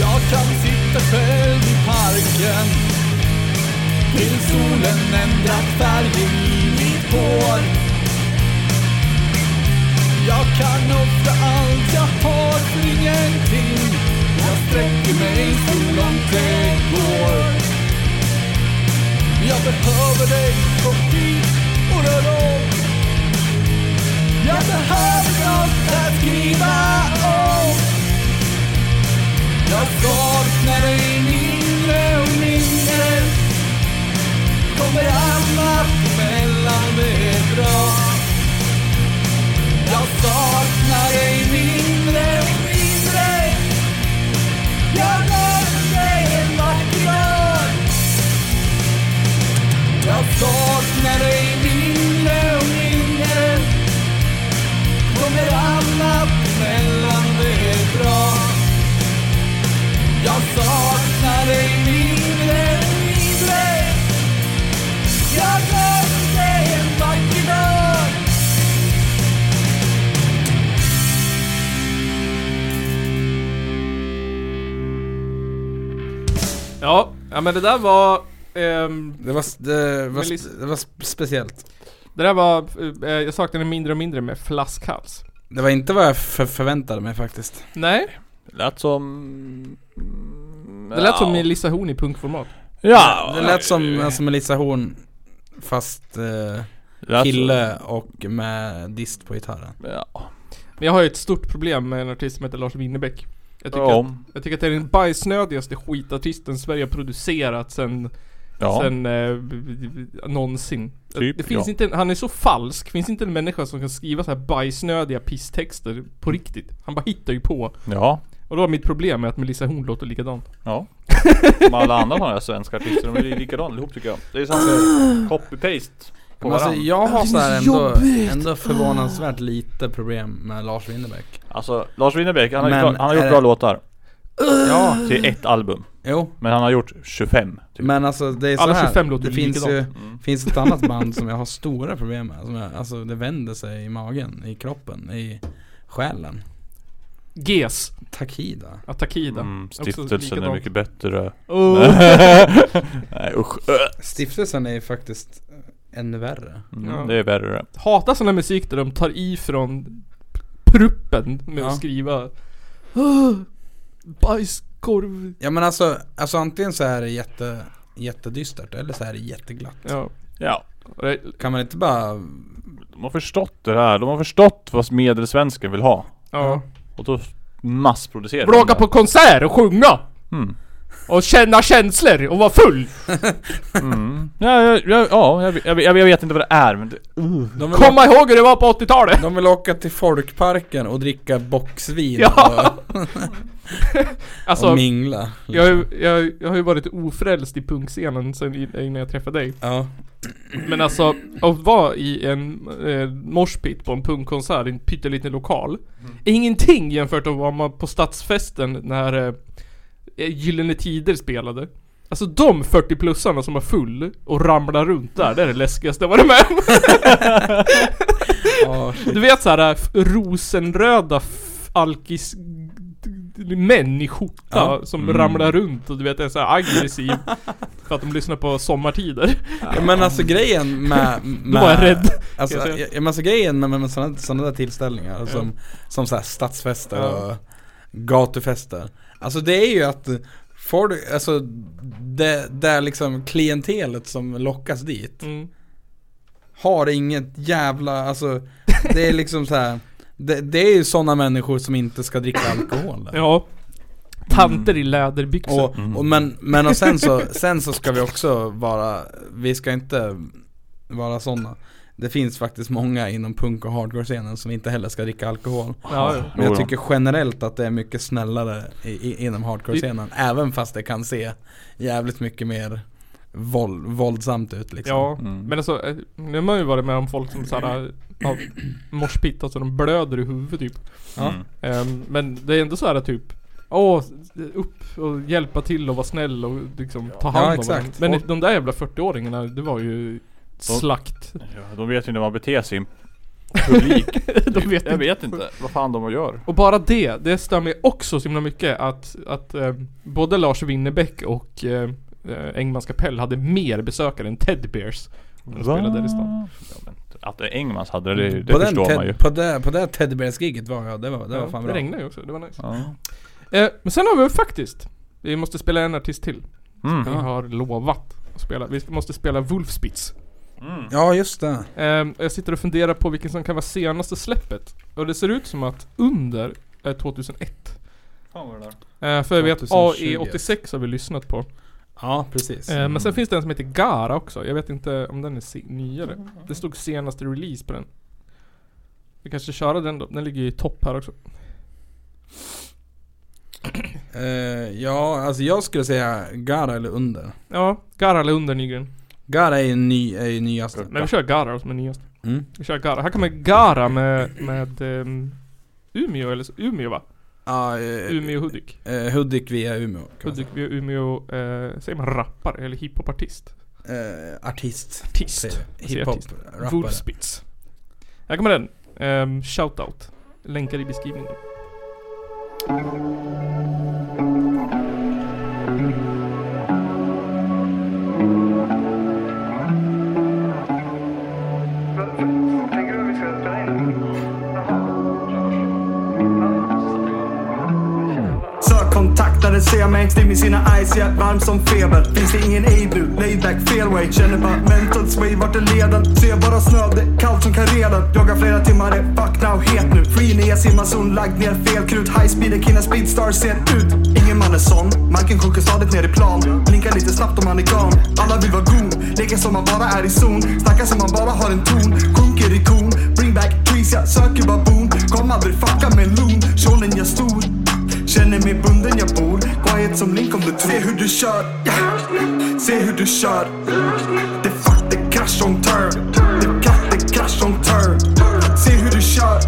[SPEAKER 11] Jag kan sitta själv i parken Till solen ändrat färgen i mitt hår Jag kan offra allt jag har för ingenting Jag sträcker mig så långt det går Jag behöver dig, kom hit och rör om Jag behöver något att skriva om jag saknar dig mindre och mindre Kommer annat emellan det är bra Jag saknar dig mindre och mindre Jag gav dig en vacker dag Jag saknar dig mindre och mindre Kommer annat emellan det är bra jag saknar dig mindre och mindre Jag gav dig en vacker dag
[SPEAKER 3] Ja, ja men det där var... ehm,
[SPEAKER 5] Det var, s- det var,
[SPEAKER 3] Melis-
[SPEAKER 5] sp- det var sp- speciellt.
[SPEAKER 3] det där var... eh, jag saknade mindre och mindre med flaskhals.
[SPEAKER 5] Det var inte vad jag för- förväntade mig faktiskt.
[SPEAKER 3] Nej,
[SPEAKER 4] Det lät som...
[SPEAKER 3] det lät som Melissa Horn i punkformat.
[SPEAKER 4] Ja!
[SPEAKER 5] det lät som, alltså Melissa Horn fast eh,
[SPEAKER 4] Det lät som-
[SPEAKER 5] kille och med dist på gitarren.
[SPEAKER 4] Ja.
[SPEAKER 3] Men jag har ju ett stort problem med en artist som heter Lars Winnerbäck. Jag tycker,
[SPEAKER 4] Ja.
[SPEAKER 3] att, jag tycker att det är den bajsnödigaste skitartisten Sverige har producerat sen,
[SPEAKER 4] Ja.
[SPEAKER 3] sen eh, b- b- b- någonsin.
[SPEAKER 4] Typ,
[SPEAKER 3] det finns
[SPEAKER 4] ja.
[SPEAKER 3] inte, en- han är så falsk, finns inte en människa som kan skriva så här bajsnödiga pisstexter på
[SPEAKER 4] Mm.
[SPEAKER 3] riktigt. Han bara hittar ju på.
[SPEAKER 4] Ja.
[SPEAKER 3] Och då var mitt problem med att Melissa Horn låter likadant.
[SPEAKER 4] Ja. Som alla andra sådana här svenska artister, de är ju likadana allihop tycker jag. Det är sånt copy-paste på
[SPEAKER 5] Men alltså
[SPEAKER 4] varandra.
[SPEAKER 5] jag har så här
[SPEAKER 3] Det är så
[SPEAKER 5] ändå,
[SPEAKER 3] jobbigt.
[SPEAKER 5] ändå förvånansvärt lite problem med Lars Winnerbäck.
[SPEAKER 4] Alltså Lars Winnerbäck, han har,
[SPEAKER 5] Men
[SPEAKER 4] gjort, bra- han har
[SPEAKER 5] är
[SPEAKER 4] gjort bra
[SPEAKER 5] det-
[SPEAKER 4] låtar.
[SPEAKER 5] Ja,
[SPEAKER 4] Till ett album.
[SPEAKER 5] jo.
[SPEAKER 4] Men han har gjort 25. Typ.
[SPEAKER 5] Men alltså det är så
[SPEAKER 3] Alla
[SPEAKER 5] här,
[SPEAKER 3] 25 låter
[SPEAKER 5] det finns ju
[SPEAKER 3] likadant.
[SPEAKER 5] finns ett annat band som jag har stora problem med. Som jag, alltså det vänder sig i magen, i kroppen, i själen.
[SPEAKER 3] GES,
[SPEAKER 5] Takida.
[SPEAKER 3] Atakida.
[SPEAKER 4] Mm,
[SPEAKER 3] Också
[SPEAKER 4] stiftelsen är
[SPEAKER 3] likadant.
[SPEAKER 4] mycket bättre.
[SPEAKER 3] Oh.
[SPEAKER 4] Nej usch. Ö.
[SPEAKER 5] Stiftelsen är ju faktiskt eh, ännu värre.
[SPEAKER 4] Mm,
[SPEAKER 3] Ja.
[SPEAKER 4] Det är värre.
[SPEAKER 3] Hatar sån här musik där de tar ifrån pruppen med
[SPEAKER 5] Ja.
[SPEAKER 3] att skriva "Ah, Bajskorv
[SPEAKER 5] Ja men alltså, alltså antingen så är det jätte, jättedystert eller så är det jätteglatt.
[SPEAKER 3] Ja,
[SPEAKER 4] Ja.
[SPEAKER 3] och det,
[SPEAKER 5] Kan man inte bara...
[SPEAKER 4] De har förstått det här. De har förstått vad medelsvensken vill ha.
[SPEAKER 3] ja.
[SPEAKER 4] Och då massproducerar de
[SPEAKER 3] Vlogga
[SPEAKER 4] det.
[SPEAKER 3] på konsert och sjunga!
[SPEAKER 4] Mm.
[SPEAKER 3] Och känna känslor och vara full!
[SPEAKER 4] Mm. Ja, ja, ja, ja jag, jag, jag, jag vet inte vad det är men det, uh.
[SPEAKER 5] De vill,
[SPEAKER 3] Komma ihåg hur det var på 80-talet!
[SPEAKER 5] de vill åka till folkparken och dricka boxvin
[SPEAKER 3] Ja.
[SPEAKER 5] och,
[SPEAKER 3] Alltså,
[SPEAKER 5] och mingla. liksom.
[SPEAKER 3] jag, har ju- jag, jag har ju varit ofrälst i punkscenen sen i- innan jag träffade dig.
[SPEAKER 5] Ja.
[SPEAKER 3] Men alltså, att vara i en eh, moshpit på en punkkonsert i en pytteliten lokal är ingenting jämfört med vad man på stadsfesten när eh, Gyllene Tider spelade. Alltså de 40-plussarna som var full och ramlar runt där, det är det läskigaste jag varit med om.
[SPEAKER 5] Ja, shit.
[SPEAKER 3] Du vet såhär f- rosenröda f- alkis män i skjorta
[SPEAKER 5] Ja.
[SPEAKER 3] som
[SPEAKER 4] Mm.
[SPEAKER 3] ramlar runt och du vet är såhär aggressiv för att de lyssnar på sommartider.
[SPEAKER 5] Ja, men alltså grejen med... med
[SPEAKER 3] var jag rädd.
[SPEAKER 5] Alltså,
[SPEAKER 3] Jag ser.
[SPEAKER 5] ja, men alltså grejen med, med, med sådana, sådana där tillställningar som, som så här stadsfester
[SPEAKER 3] Ja.
[SPEAKER 5] och gatufester Alltså det är ju att Får du, alltså det, det liksom klientelet som lockas dit Har inget jävla, alltså det är liksom så här. Det, det är ju sådana människor som inte ska dricka alkohol där.
[SPEAKER 3] Ja. Tanter i läderbyxor.
[SPEAKER 5] Och, och men, men och sen så, sen så ska vi också vara, vi ska inte vara sådana det finns faktiskt många inom punk och hardcore-scenen som inte heller ska dricka alkohol.
[SPEAKER 3] Ja, ja.
[SPEAKER 5] Men
[SPEAKER 3] Jo,
[SPEAKER 5] jag
[SPEAKER 3] ja.
[SPEAKER 5] tycker generellt att det är mycket snällare i, i, inom hardcore-scenen. Även fast det kan se jävligt mycket mer våld, våldsamt ut liksom.
[SPEAKER 3] Ja, men alltså eh, nu har man ju varit med om folk som såhär har morspitt, alltså de blöder i huvudet typ.
[SPEAKER 5] Ja.
[SPEAKER 4] Mm.
[SPEAKER 3] Ehm, men det är ändå så här typ Åh, upp och hjälpa till och vara snäll och liksom ta hand
[SPEAKER 5] Ja,
[SPEAKER 3] om
[SPEAKER 5] exakt.
[SPEAKER 3] varandra. Men
[SPEAKER 5] Och-
[SPEAKER 3] de där jävla 40-åringarna, det var ju slakt.
[SPEAKER 4] Ja, de vet ju när man beter sig i publik.
[SPEAKER 3] de vet
[SPEAKER 4] jag vet inte vad fan de gör.
[SPEAKER 3] Och bara det, det stör mig också så himla mycket att, att eh, både Lars Winnerbäck och eh, eh, Engmans kapell hade mer besökare än Ted Bears. när De
[SPEAKER 4] Va?
[SPEAKER 3] spelade där i stan.
[SPEAKER 4] Att det är Engmans hade det, det
[SPEAKER 5] på, den
[SPEAKER 4] förstår
[SPEAKER 5] Ted-
[SPEAKER 4] man ju.
[SPEAKER 5] på det, på det Teddy Bears-giget var jag, det var, det
[SPEAKER 3] Ja,
[SPEAKER 5] var fan
[SPEAKER 3] det
[SPEAKER 5] bra.
[SPEAKER 3] regnade ju också, det var nice.
[SPEAKER 4] Ja.
[SPEAKER 3] Eh, men sen har vi faktiskt, vi måste spela en artist till.
[SPEAKER 4] Mm.
[SPEAKER 3] Vi
[SPEAKER 5] Ja.
[SPEAKER 3] har lovat att spela, vi måste spela Wolfspitz.
[SPEAKER 5] Ja just det.
[SPEAKER 3] Ehm, jag sitter och funderar på vilken som kan vara senaste släppet. Och det ser ut som att under är 2001. Eh, för jag vet
[SPEAKER 5] 2020.
[SPEAKER 3] AE86 har vi lyssnat på.
[SPEAKER 5] Ja precis.
[SPEAKER 3] Eh, men sen finns det en som heter Gara också. Jag vet inte om den är se- nyare. Det stod senaste release på den. Vi kanske köra den då. Den ligger ju i topp här också.
[SPEAKER 5] Eh, ja, alltså jag skulle säga Gara eller Under.
[SPEAKER 3] Ja, Gara eller under Nygren.
[SPEAKER 5] Gara är ju ny, är ju nyaste.
[SPEAKER 3] Men vi kör Gara som är nyast.
[SPEAKER 5] Mm.
[SPEAKER 3] Vi kör Gara. Här kommer Gara med, med ehm, Umeå eller så. Umeå va?
[SPEAKER 5] Ja, eh,
[SPEAKER 3] Umeå Hudik.
[SPEAKER 5] eh, Hudik via Umeå. kan man
[SPEAKER 3] Hudik via Umeå, eh, säger man rappare eller hiphopartist?
[SPEAKER 5] säga. Eh, artist.
[SPEAKER 3] Artist. Säger Alltså,
[SPEAKER 5] Hiphop,
[SPEAKER 3] artist.
[SPEAKER 5] rappare.
[SPEAKER 3] Wolfspitz. Här kommer den. Ehm, shoutout. Länkar i beskrivningen.
[SPEAKER 12] Sökkontaktade ser mig, stim i sina eyes, hjärt varm som feber. Finns det ingen A-du, layback, fairway. Känner bara mental sway, vart är leden? Ser bara snö, det är kallt som Karelen. Jagar flera timmar, är fuck now, het nu. Free ner, simmar zon, lagd ner, fel krut. High speed, är kinna speedstar, ser ut. Ingen man är sån, marken sjunker stadigt ner i plan. Blinkar lite snabbt om man är gone. Alla vill vara goon, leker som man bara är i zon. Snackar som man bara har en ton. Sjunker i kon, bring back trees, jag söker baboon. Kom aldrig fucka med loon, kjolen jag stor. Känner mig bunden jag bor Quiet som Link om du tror Se hur du kör Se hur du kör Det är fuck, det är crash on turn Det är katt, det är crash on turn Se hur du kör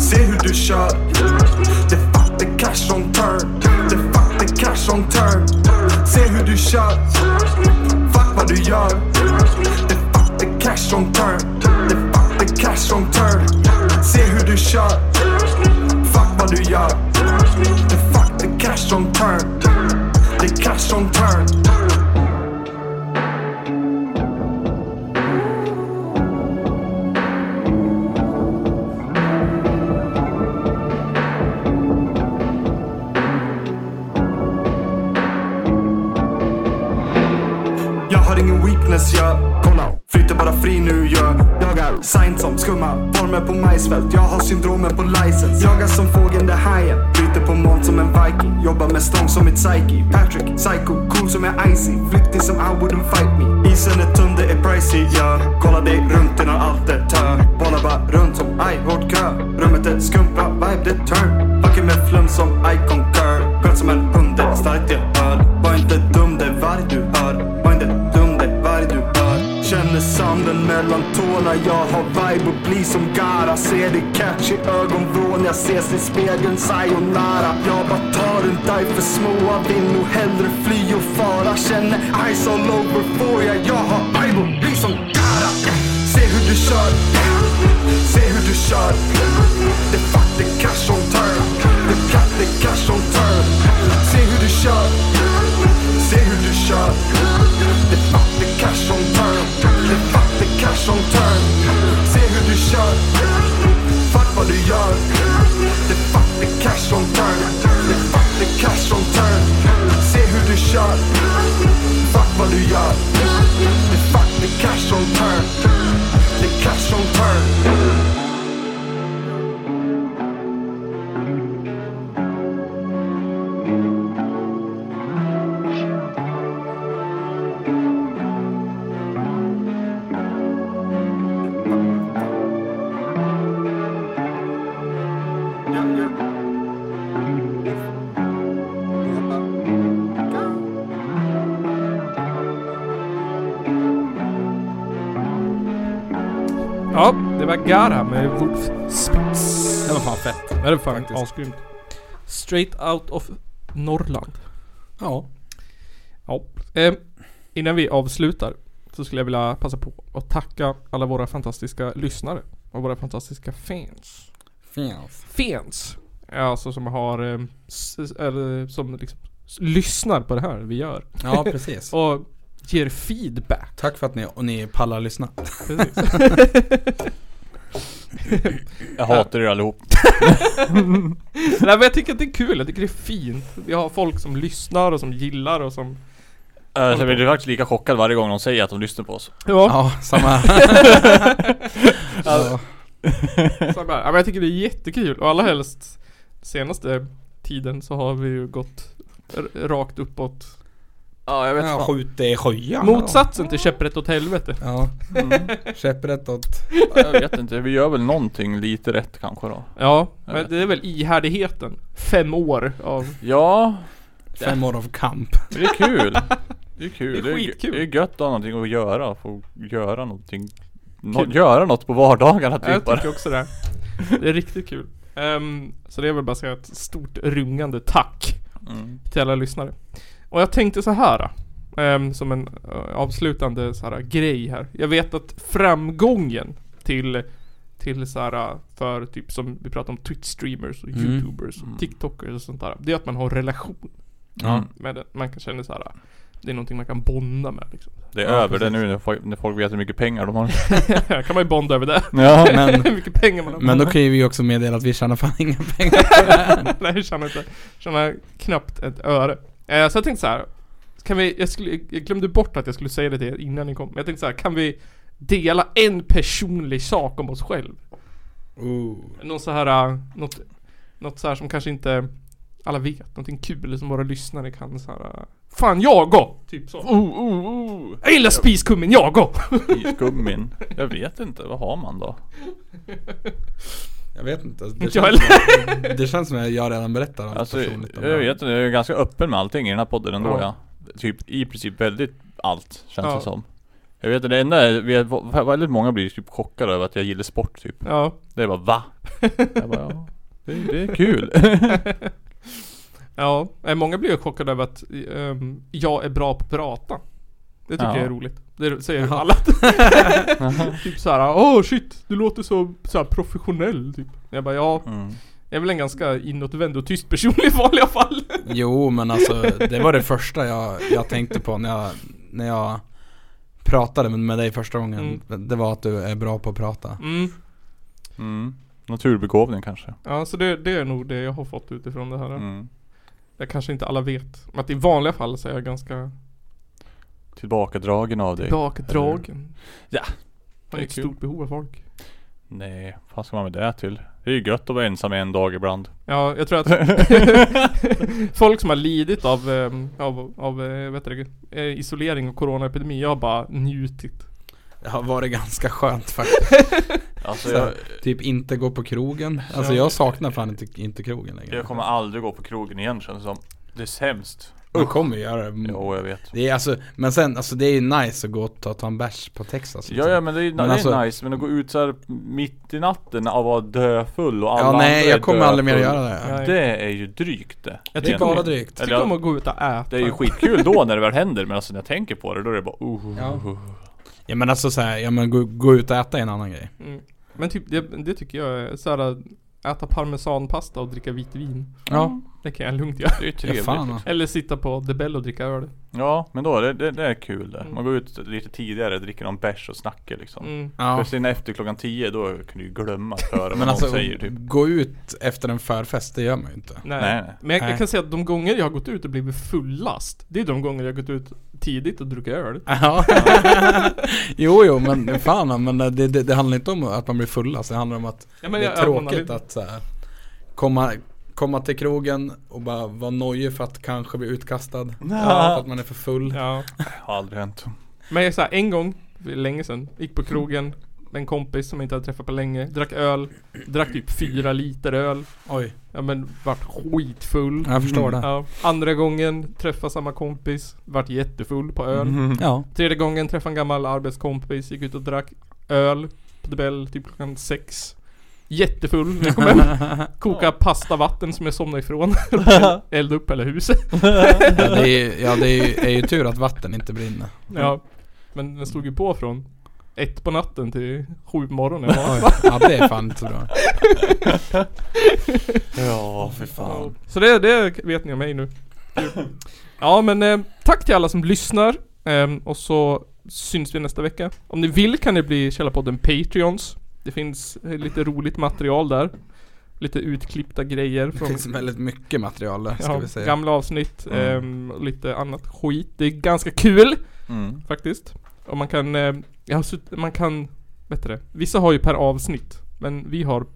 [SPEAKER 12] Se hur du kör Det är fuck, det är crash on turn Det är fuck, det är crash on turn Se hur du kör Fuck vad du gör Det är fuck, det är crash on turn Det är fuck, det är crash on turn Se hur du kör Fuck vad du gör Det är fuck, det är crash on turn Det är crash on turn Jag har ingen weakness, jag Kolla, flyter bara fri nu, jag Jagar sign som skumma former på majsfält Jag har syndromen på license Jagas som fågeln, det hajen Flyter på moln som en viking Jobbar med stång som mitt psyche Patrick, psycho, cool som jag icy Flyktig som I wouldn't fight me Isen är tunn, det är pricey, jag Kolla dig runt innan allt är tör Bollar bara runt som I, hård kö Rummet är skumt, bra vibe, det är turn Fucking med flum som I concur Sköt som en hund, det är starkt jag hör Var inte dum, det är varg du hör Var inte dum, det är varg du hör Känner sanden mellan tårna Jag har vibe och blir som Gara Ser det catch i ögonvrån Jag ses i spegeln, sayonara Jag bara tar en dive för småa Vill nog hellre fly och fara Känner ice all over får jag Jag har vibe och blir som Gara Se hur du kör Se hur du kör Det är fuck, det är cash on turn Det är katt, det är cash on turn Se hur du kör Se hur du kör Det är fuck, det är cash on turn Det är fuck, det är cash on turn Se hur du kör Fuck vad du gör Det är fuck, det är cash on turn Det är fuck, det är cash on turn
[SPEAKER 3] Bagara med Wolf Spitz.
[SPEAKER 5] Det var fan fett.
[SPEAKER 3] Det var fan asgrymt. Straight out of Norrland.
[SPEAKER 5] Ja.
[SPEAKER 3] Ja. Eh, innan vi avslutar så skulle jag vilja passa på att tacka alla våra fantastiska lyssnare och våra fantastiska fans.
[SPEAKER 5] Fans.
[SPEAKER 3] Fans. Ja, Alltså som har, eh, s- s- eller som liksom s- lyssnar på det här vi gör.
[SPEAKER 5] Ja, precis.
[SPEAKER 3] och ger feedback.
[SPEAKER 5] Tack för att ni, och ni pallar lyssna.
[SPEAKER 4] Jag hatar er allihop.
[SPEAKER 3] Nej men jag tycker att det är kul, jag tycker det är fint. Vi har folk som lyssnar och som gillar och som...
[SPEAKER 4] Eh, så jag blir faktiskt lika chockad varje gång de säger att de lyssnar på oss.
[SPEAKER 5] Ja, samma.
[SPEAKER 3] alltså, samma här. Ja, men jag tycker det är jättekul och allra helst senaste tiden så har vi ju gått r- rakt uppåt.
[SPEAKER 4] Ja jag
[SPEAKER 5] vet Ja, fan. skjut i sköjan.
[SPEAKER 3] Motsatsen till käpprätt åt helvete.
[SPEAKER 5] Ja.
[SPEAKER 3] Mm.
[SPEAKER 5] Käpprätt åt...
[SPEAKER 4] Jag vet inte, vi gör väl någonting lite rätt kanske då.
[SPEAKER 3] Ja, men det är väl ihärdigheten. Fem år av...
[SPEAKER 4] Ja.
[SPEAKER 5] Fem år av kamp.
[SPEAKER 4] Men det är kul. Det är kul.
[SPEAKER 3] Det är
[SPEAKER 4] Det är,
[SPEAKER 3] skitkul.
[SPEAKER 4] det är gött att ha någonting att göra. Få göra någonting. Nå-
[SPEAKER 3] Kul.
[SPEAKER 4] göra något på vardagarna typ
[SPEAKER 3] Ja, jag
[SPEAKER 4] bara.
[SPEAKER 3] tycker också det. Det är riktigt kul. Ehm, så det är väl bara att säga ett stort rungande tack
[SPEAKER 4] Mm.
[SPEAKER 3] till alla lyssnare. Och jag tänkte så här. ehm, som en eh, avslutande så här, grej här. Jag vet att framgången till, till så här, för typ som vi pratar om Twitch-streamers och
[SPEAKER 4] Mm.
[SPEAKER 3] YouTubers
[SPEAKER 4] Mm.
[SPEAKER 3] och TikTokers och sånt där. Det är att man har en relation.
[SPEAKER 4] Ja.
[SPEAKER 3] Med det. Man kan känna så här. Det är någonting man kan bonda med liksom.
[SPEAKER 4] Det är
[SPEAKER 3] Ja,
[SPEAKER 4] över
[SPEAKER 3] precis.
[SPEAKER 4] det nu när folk, när folk vet hur mycket pengar de har.
[SPEAKER 3] Här kan man ju bonda över det.
[SPEAKER 4] Ja,
[SPEAKER 5] men-
[SPEAKER 3] Hur mycket pengar man har.
[SPEAKER 5] Men då kan ju vi också meddela att vi tjänar fan inga pengar.
[SPEAKER 3] Nej, jag känner inte. Jag Känner knappt ett öre. Eh, så jag tänkte så här. Kan vi, jag, skulle, jag glömde bort att jag skulle säga det till er innan ni kom. Men jag tänkte så här, kan vi dela en personlig sak om oss själv?
[SPEAKER 5] Ooh.
[SPEAKER 3] Någon så här, eh, något, något så här som kanske inte alla vet. Någonting kul som våra lyssnare kan så här. eh, Fan, Jago! Typ så.
[SPEAKER 4] Oh, oh, oh.
[SPEAKER 3] Jag gillar spiskummin, Jago!
[SPEAKER 4] Spiskummin. Jag vet inte, vad har man då?
[SPEAKER 5] Jag vet inte. Alltså, Det
[SPEAKER 3] Jag
[SPEAKER 5] känns, som, det känns som att jag redan berättar om
[SPEAKER 4] Alltså,
[SPEAKER 5] det personligt. om
[SPEAKER 4] jag vet inte, jag är ganska öppen med allting i den här podden ändå
[SPEAKER 3] Ja.
[SPEAKER 4] ja. Typ i princip väldigt allt känns
[SPEAKER 3] Ja.
[SPEAKER 4] det som. Jag vet inte, det enda är, vi är, väldigt många blir typ chockade över att jag gillar sport typ.
[SPEAKER 3] Ja.
[SPEAKER 4] Det är bara va? Jag bara, ja, det, det är kul.
[SPEAKER 3] ja, eh, många blir ju chockade över att ehm, jag är bra på att prata. Det tycker
[SPEAKER 4] Ja.
[SPEAKER 3] jag är roligt. Det säger
[SPEAKER 5] Jaha.
[SPEAKER 3] alla.
[SPEAKER 4] Jaha.
[SPEAKER 3] typ såhär, åh shit, du låter så, så här professionell typ. Jag bara, ja.
[SPEAKER 4] Mm.
[SPEAKER 3] Jag är väl en ganska inåtvänd och tyst person i vanliga fall.
[SPEAKER 5] Jo men alltså det var det första jag, jag tänkte på när jag, när jag pratade med- med dig första gången. Det var att du är bra på att prata.
[SPEAKER 3] Mm.
[SPEAKER 4] Mm. Naturbegåvning kanske.
[SPEAKER 3] Ja, så det, det är nog det jag har fått utifrån det här.
[SPEAKER 4] Mm.
[SPEAKER 3] Jag kanske inte alla vet. Men att i vanliga fall så är jag ganska
[SPEAKER 4] Tillbakadragen av dig.
[SPEAKER 3] bakdragen.
[SPEAKER 4] Ja.
[SPEAKER 3] Har
[SPEAKER 4] Det är
[SPEAKER 3] ett
[SPEAKER 4] kul.
[SPEAKER 3] stort behov av folk.
[SPEAKER 4] Nej, vad ska man med det till? Det är ju gött att vara ensam en dag ibland.
[SPEAKER 3] Ja, jag tror att folk som har lidit av, ehm, av, av eh, vet du, det, eh, isolering och coronaepidemi, jag har bara njutit.
[SPEAKER 5] Det har varit ganska skönt faktiskt.
[SPEAKER 4] Alltså
[SPEAKER 5] Så,
[SPEAKER 4] jag,
[SPEAKER 5] typ inte gå på krogen. Alltså jag saknar fan inte, inte krogen längre.
[SPEAKER 4] jag kommer aldrig gå på krogen igen känns det som. Det är sämst.
[SPEAKER 5] Man kommer ju göra det.
[SPEAKER 4] Jo, jag vet.
[SPEAKER 5] Det är alltså, men sen alltså det är ju nice att gå och ta, ta en bärs på Texas
[SPEAKER 4] Ja, ja men det är, det
[SPEAKER 5] alltså-
[SPEAKER 4] är nice, men att gå ut så här mitt i natten och vara döfull och alla
[SPEAKER 5] Ja nej
[SPEAKER 4] andra är
[SPEAKER 5] jag kommer aldrig mer
[SPEAKER 4] döfull.
[SPEAKER 5] göra det.
[SPEAKER 3] Nej.
[SPEAKER 4] Det är ju drygt det.
[SPEAKER 5] Jag tycker
[SPEAKER 4] Egentligen.
[SPEAKER 5] bara drygt.
[SPEAKER 4] Eller,
[SPEAKER 3] Tycker om
[SPEAKER 4] ja,
[SPEAKER 3] att gå ut och äta.
[SPEAKER 4] det är ju skitkul då när det väl händer, men alltså när jag tänker på det då är det bara oh.
[SPEAKER 5] Ja. Ja men alltså såhär, ja men gå, gå ut och äta är en annan grej.
[SPEAKER 3] Mm. Men typ det, det tycker jag är såhär Äta parmesanpasta och dricka vitt vin
[SPEAKER 5] Ja.
[SPEAKER 3] Det kan jag lugnt göra
[SPEAKER 4] Det är ju
[SPEAKER 5] Ja,
[SPEAKER 4] trevligt.
[SPEAKER 5] fan.
[SPEAKER 4] liksom.
[SPEAKER 3] Eller sitta på The Bell och dricka öl
[SPEAKER 4] ja, men då, det, det, det är kul det.
[SPEAKER 3] Mm.
[SPEAKER 4] Man går ut lite tidigare, dricker någon bärs och snackar liksom.
[SPEAKER 3] mm.
[SPEAKER 5] Ja.
[SPEAKER 4] För sen efter klockan 10 då kan du ju glömma att höra vad
[SPEAKER 5] Men
[SPEAKER 4] någon
[SPEAKER 5] alltså
[SPEAKER 4] säger typ.
[SPEAKER 5] gå ut efter en förfest, det gör man ju inte.
[SPEAKER 3] Nej.
[SPEAKER 4] Nej, nej.
[SPEAKER 3] Men jag, jag
[SPEAKER 5] Nej.
[SPEAKER 3] kan säga att de gånger jag har gått ut och blivit fullast Det är de gånger jag har gått ut tidigt och druckit öl
[SPEAKER 5] Ja. jo, jo, men fan men det, det, det handlar inte om att man blir full alltså. Det handlar om att
[SPEAKER 3] ja, men
[SPEAKER 5] det
[SPEAKER 3] jag-
[SPEAKER 5] är
[SPEAKER 3] jag hånar
[SPEAKER 5] tråkigt
[SPEAKER 3] lite.
[SPEAKER 5] att så här, komma, komma till krogen och bara vara nojig för att kanske bli utkastad. Ja, för att man är för full.
[SPEAKER 3] ja.
[SPEAKER 4] Har aldrig hänt.
[SPEAKER 3] Men jag, så här, en gång, för länge sedan, gick på krogen Med en kompis som jag inte hade träffat på länge Drack öl Drack typ fyra liter öl
[SPEAKER 5] Oj,
[SPEAKER 3] Ja men vart skitfull
[SPEAKER 5] jag förstår det.
[SPEAKER 3] Ja, andra gången träffade samma kompis, vart jättefull på öl.
[SPEAKER 5] Ja.
[SPEAKER 3] Tredje gången träffade en gammal arbetskompis, gick ut och drack öl. på The Bell typ klockan sex. Jättefull när jag kom hem. Koka pastavatten som jag somnade ifrån. Elda upp hela huset.
[SPEAKER 5] Ja, det är, ju- ja, det är, ju, är ju tur att vatten inte brinner.
[SPEAKER 3] Ja, men den stod ju på från ett på natten till sju på morgonen.
[SPEAKER 5] Oj, ja, det är fan inte så bra.
[SPEAKER 4] Ja, fy fan.
[SPEAKER 3] Så det, det vet ni om mig nu. Ja men eh, tack till alla som lyssnar. Ehm, och så syns vi nästa vecka. Om ni vill kan ni bli Källarpodden Patreons. Det finns eh, lite roligt material där. Lite utklippta grejer
[SPEAKER 5] Det
[SPEAKER 3] från
[SPEAKER 5] finns väldigt mycket material där ska
[SPEAKER 3] ja,
[SPEAKER 5] vi säga.
[SPEAKER 3] gamla avsnitt
[SPEAKER 5] Mm.
[SPEAKER 3] ehm, och lite annat skit. Det är ganska kul
[SPEAKER 4] Mm.
[SPEAKER 3] faktiskt. Och man kan, eh, jag har sutt- man kan, bättre. Vissa har ju per avsnitt, men vi har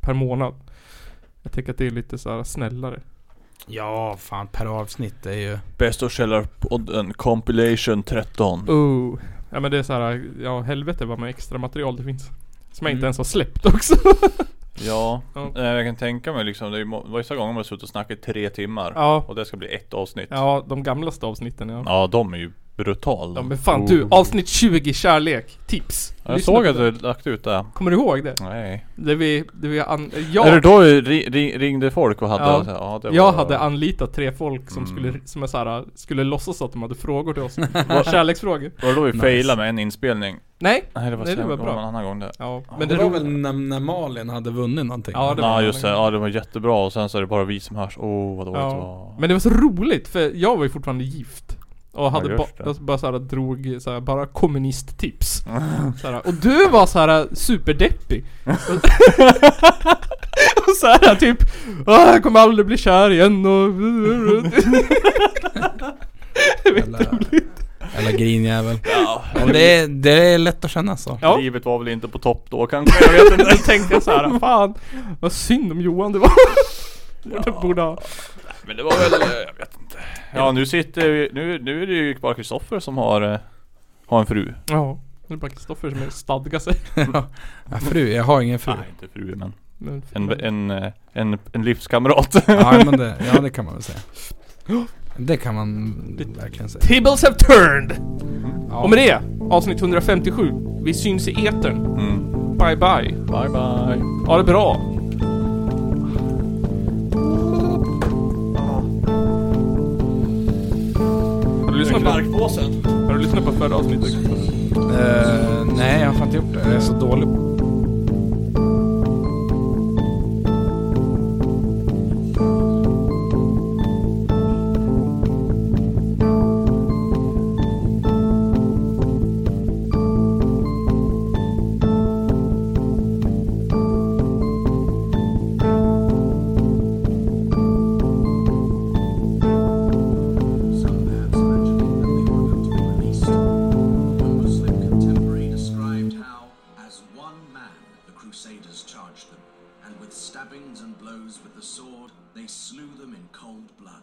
[SPEAKER 3] per månad. Jag tänker att det är lite så här snällare.
[SPEAKER 5] Ja, fan per avsnitt är ju...
[SPEAKER 4] Bäst och källarpodden compilation 13.
[SPEAKER 3] Oh. Ja men det är så här, ja helvete vad med extra material det finns. Som jag inte
[SPEAKER 4] Mm.
[SPEAKER 3] ens har släppt också.
[SPEAKER 4] Ja,
[SPEAKER 3] Ja.
[SPEAKER 4] eh, jag kan tänka mig liksom. Det är ju må- vissa gånger man har suttit och snackat i tre timmar.
[SPEAKER 3] Ja.
[SPEAKER 4] Och det ska bli ett avsnitt.
[SPEAKER 3] ja, de gamlaste avsnitten ja.
[SPEAKER 4] Ja, de är ju brutala.
[SPEAKER 3] Ja men fan du, avsnitt 20 kärlek, tips.
[SPEAKER 4] Jag
[SPEAKER 3] Lyssna
[SPEAKER 4] såg
[SPEAKER 3] på
[SPEAKER 4] att
[SPEAKER 3] det.
[SPEAKER 4] du lagt ut det.
[SPEAKER 3] Kommer du ihåg det?
[SPEAKER 4] Nej.
[SPEAKER 3] Det vi, det vi an- jag,
[SPEAKER 4] Är det då ri, ri, ringde folk och hade...
[SPEAKER 3] ja,
[SPEAKER 4] så här, det var-
[SPEAKER 3] jag hade anlitat tre folk som
[SPEAKER 4] Mm.
[SPEAKER 3] skulle, som är så här, skulle låtsas att de hade frågor till oss.
[SPEAKER 4] Var-
[SPEAKER 3] Kärleksfrågor.
[SPEAKER 4] Var det då vi failade med en inspelning?
[SPEAKER 3] Nej.
[SPEAKER 4] Nej det var,
[SPEAKER 3] Nej, det var bra.
[SPEAKER 4] en annan gång det.
[SPEAKER 3] Ja,
[SPEAKER 5] Men det, var väl när, när Malin hade vunnit någonting?
[SPEAKER 3] Ja, det var
[SPEAKER 4] Ja
[SPEAKER 3] en
[SPEAKER 4] just det, ja det var jättebra och sen så är det bara vi som hörs. Oh vad dåligt det var.
[SPEAKER 3] Ja. Men det var så roligt för jag var ju fortfarande gift. Och hade
[SPEAKER 4] just
[SPEAKER 3] ba- bara såhär drog såhär, bara kommunisttips. såhär, och du var såhär superdeppig. Och- och såhär typ Åh, jag kommer aldrig bli kär igen och... det var jätteroligt.
[SPEAKER 5] Eller grinjävel.
[SPEAKER 4] Ja.
[SPEAKER 5] Men det, är, det är lätt att känna så.
[SPEAKER 3] Ja.
[SPEAKER 4] Livet var väl inte på topp då kanske, jag vet inte.
[SPEAKER 3] Då tänkte jag såhär, fan vad synd om Johan det var. Borde, borde ha.
[SPEAKER 4] Men det var väl, eh, jag vet inte. Ja nu sitter vi, nu, nu är det ju bara Kristoffer som har, eh, har en fru.
[SPEAKER 3] Ja, nu är det bara Kristoffer som är stadga sig.
[SPEAKER 5] Ja, fru, jag har ingen fru.
[SPEAKER 4] Nej inte fru men.
[SPEAKER 3] Men-
[SPEAKER 4] En, en, eh, en, en livskamrat.
[SPEAKER 5] Ja, men det, ja, det kan man väl säga. Det kan man verkligen säga.
[SPEAKER 3] Tables have turned!
[SPEAKER 5] Ja.
[SPEAKER 3] Och med det, avsnitt 157. Vi syns i etern. Bye bye.
[SPEAKER 4] Bye bye.
[SPEAKER 3] Ha det bra. Har du lyssnat på...
[SPEAKER 4] Knarkpåsen.
[SPEAKER 3] Har du lyssnat på förra avsnittet?
[SPEAKER 5] Eh, nej, jag har fan inte gjort det. Jag är så dålig på
[SPEAKER 11] Some bands mentioning that they were about to be released. One Muslim contemporary described how, as one man, the Crusaders charged them, and with stabbings and blows with the sword, they slew them in cold blood.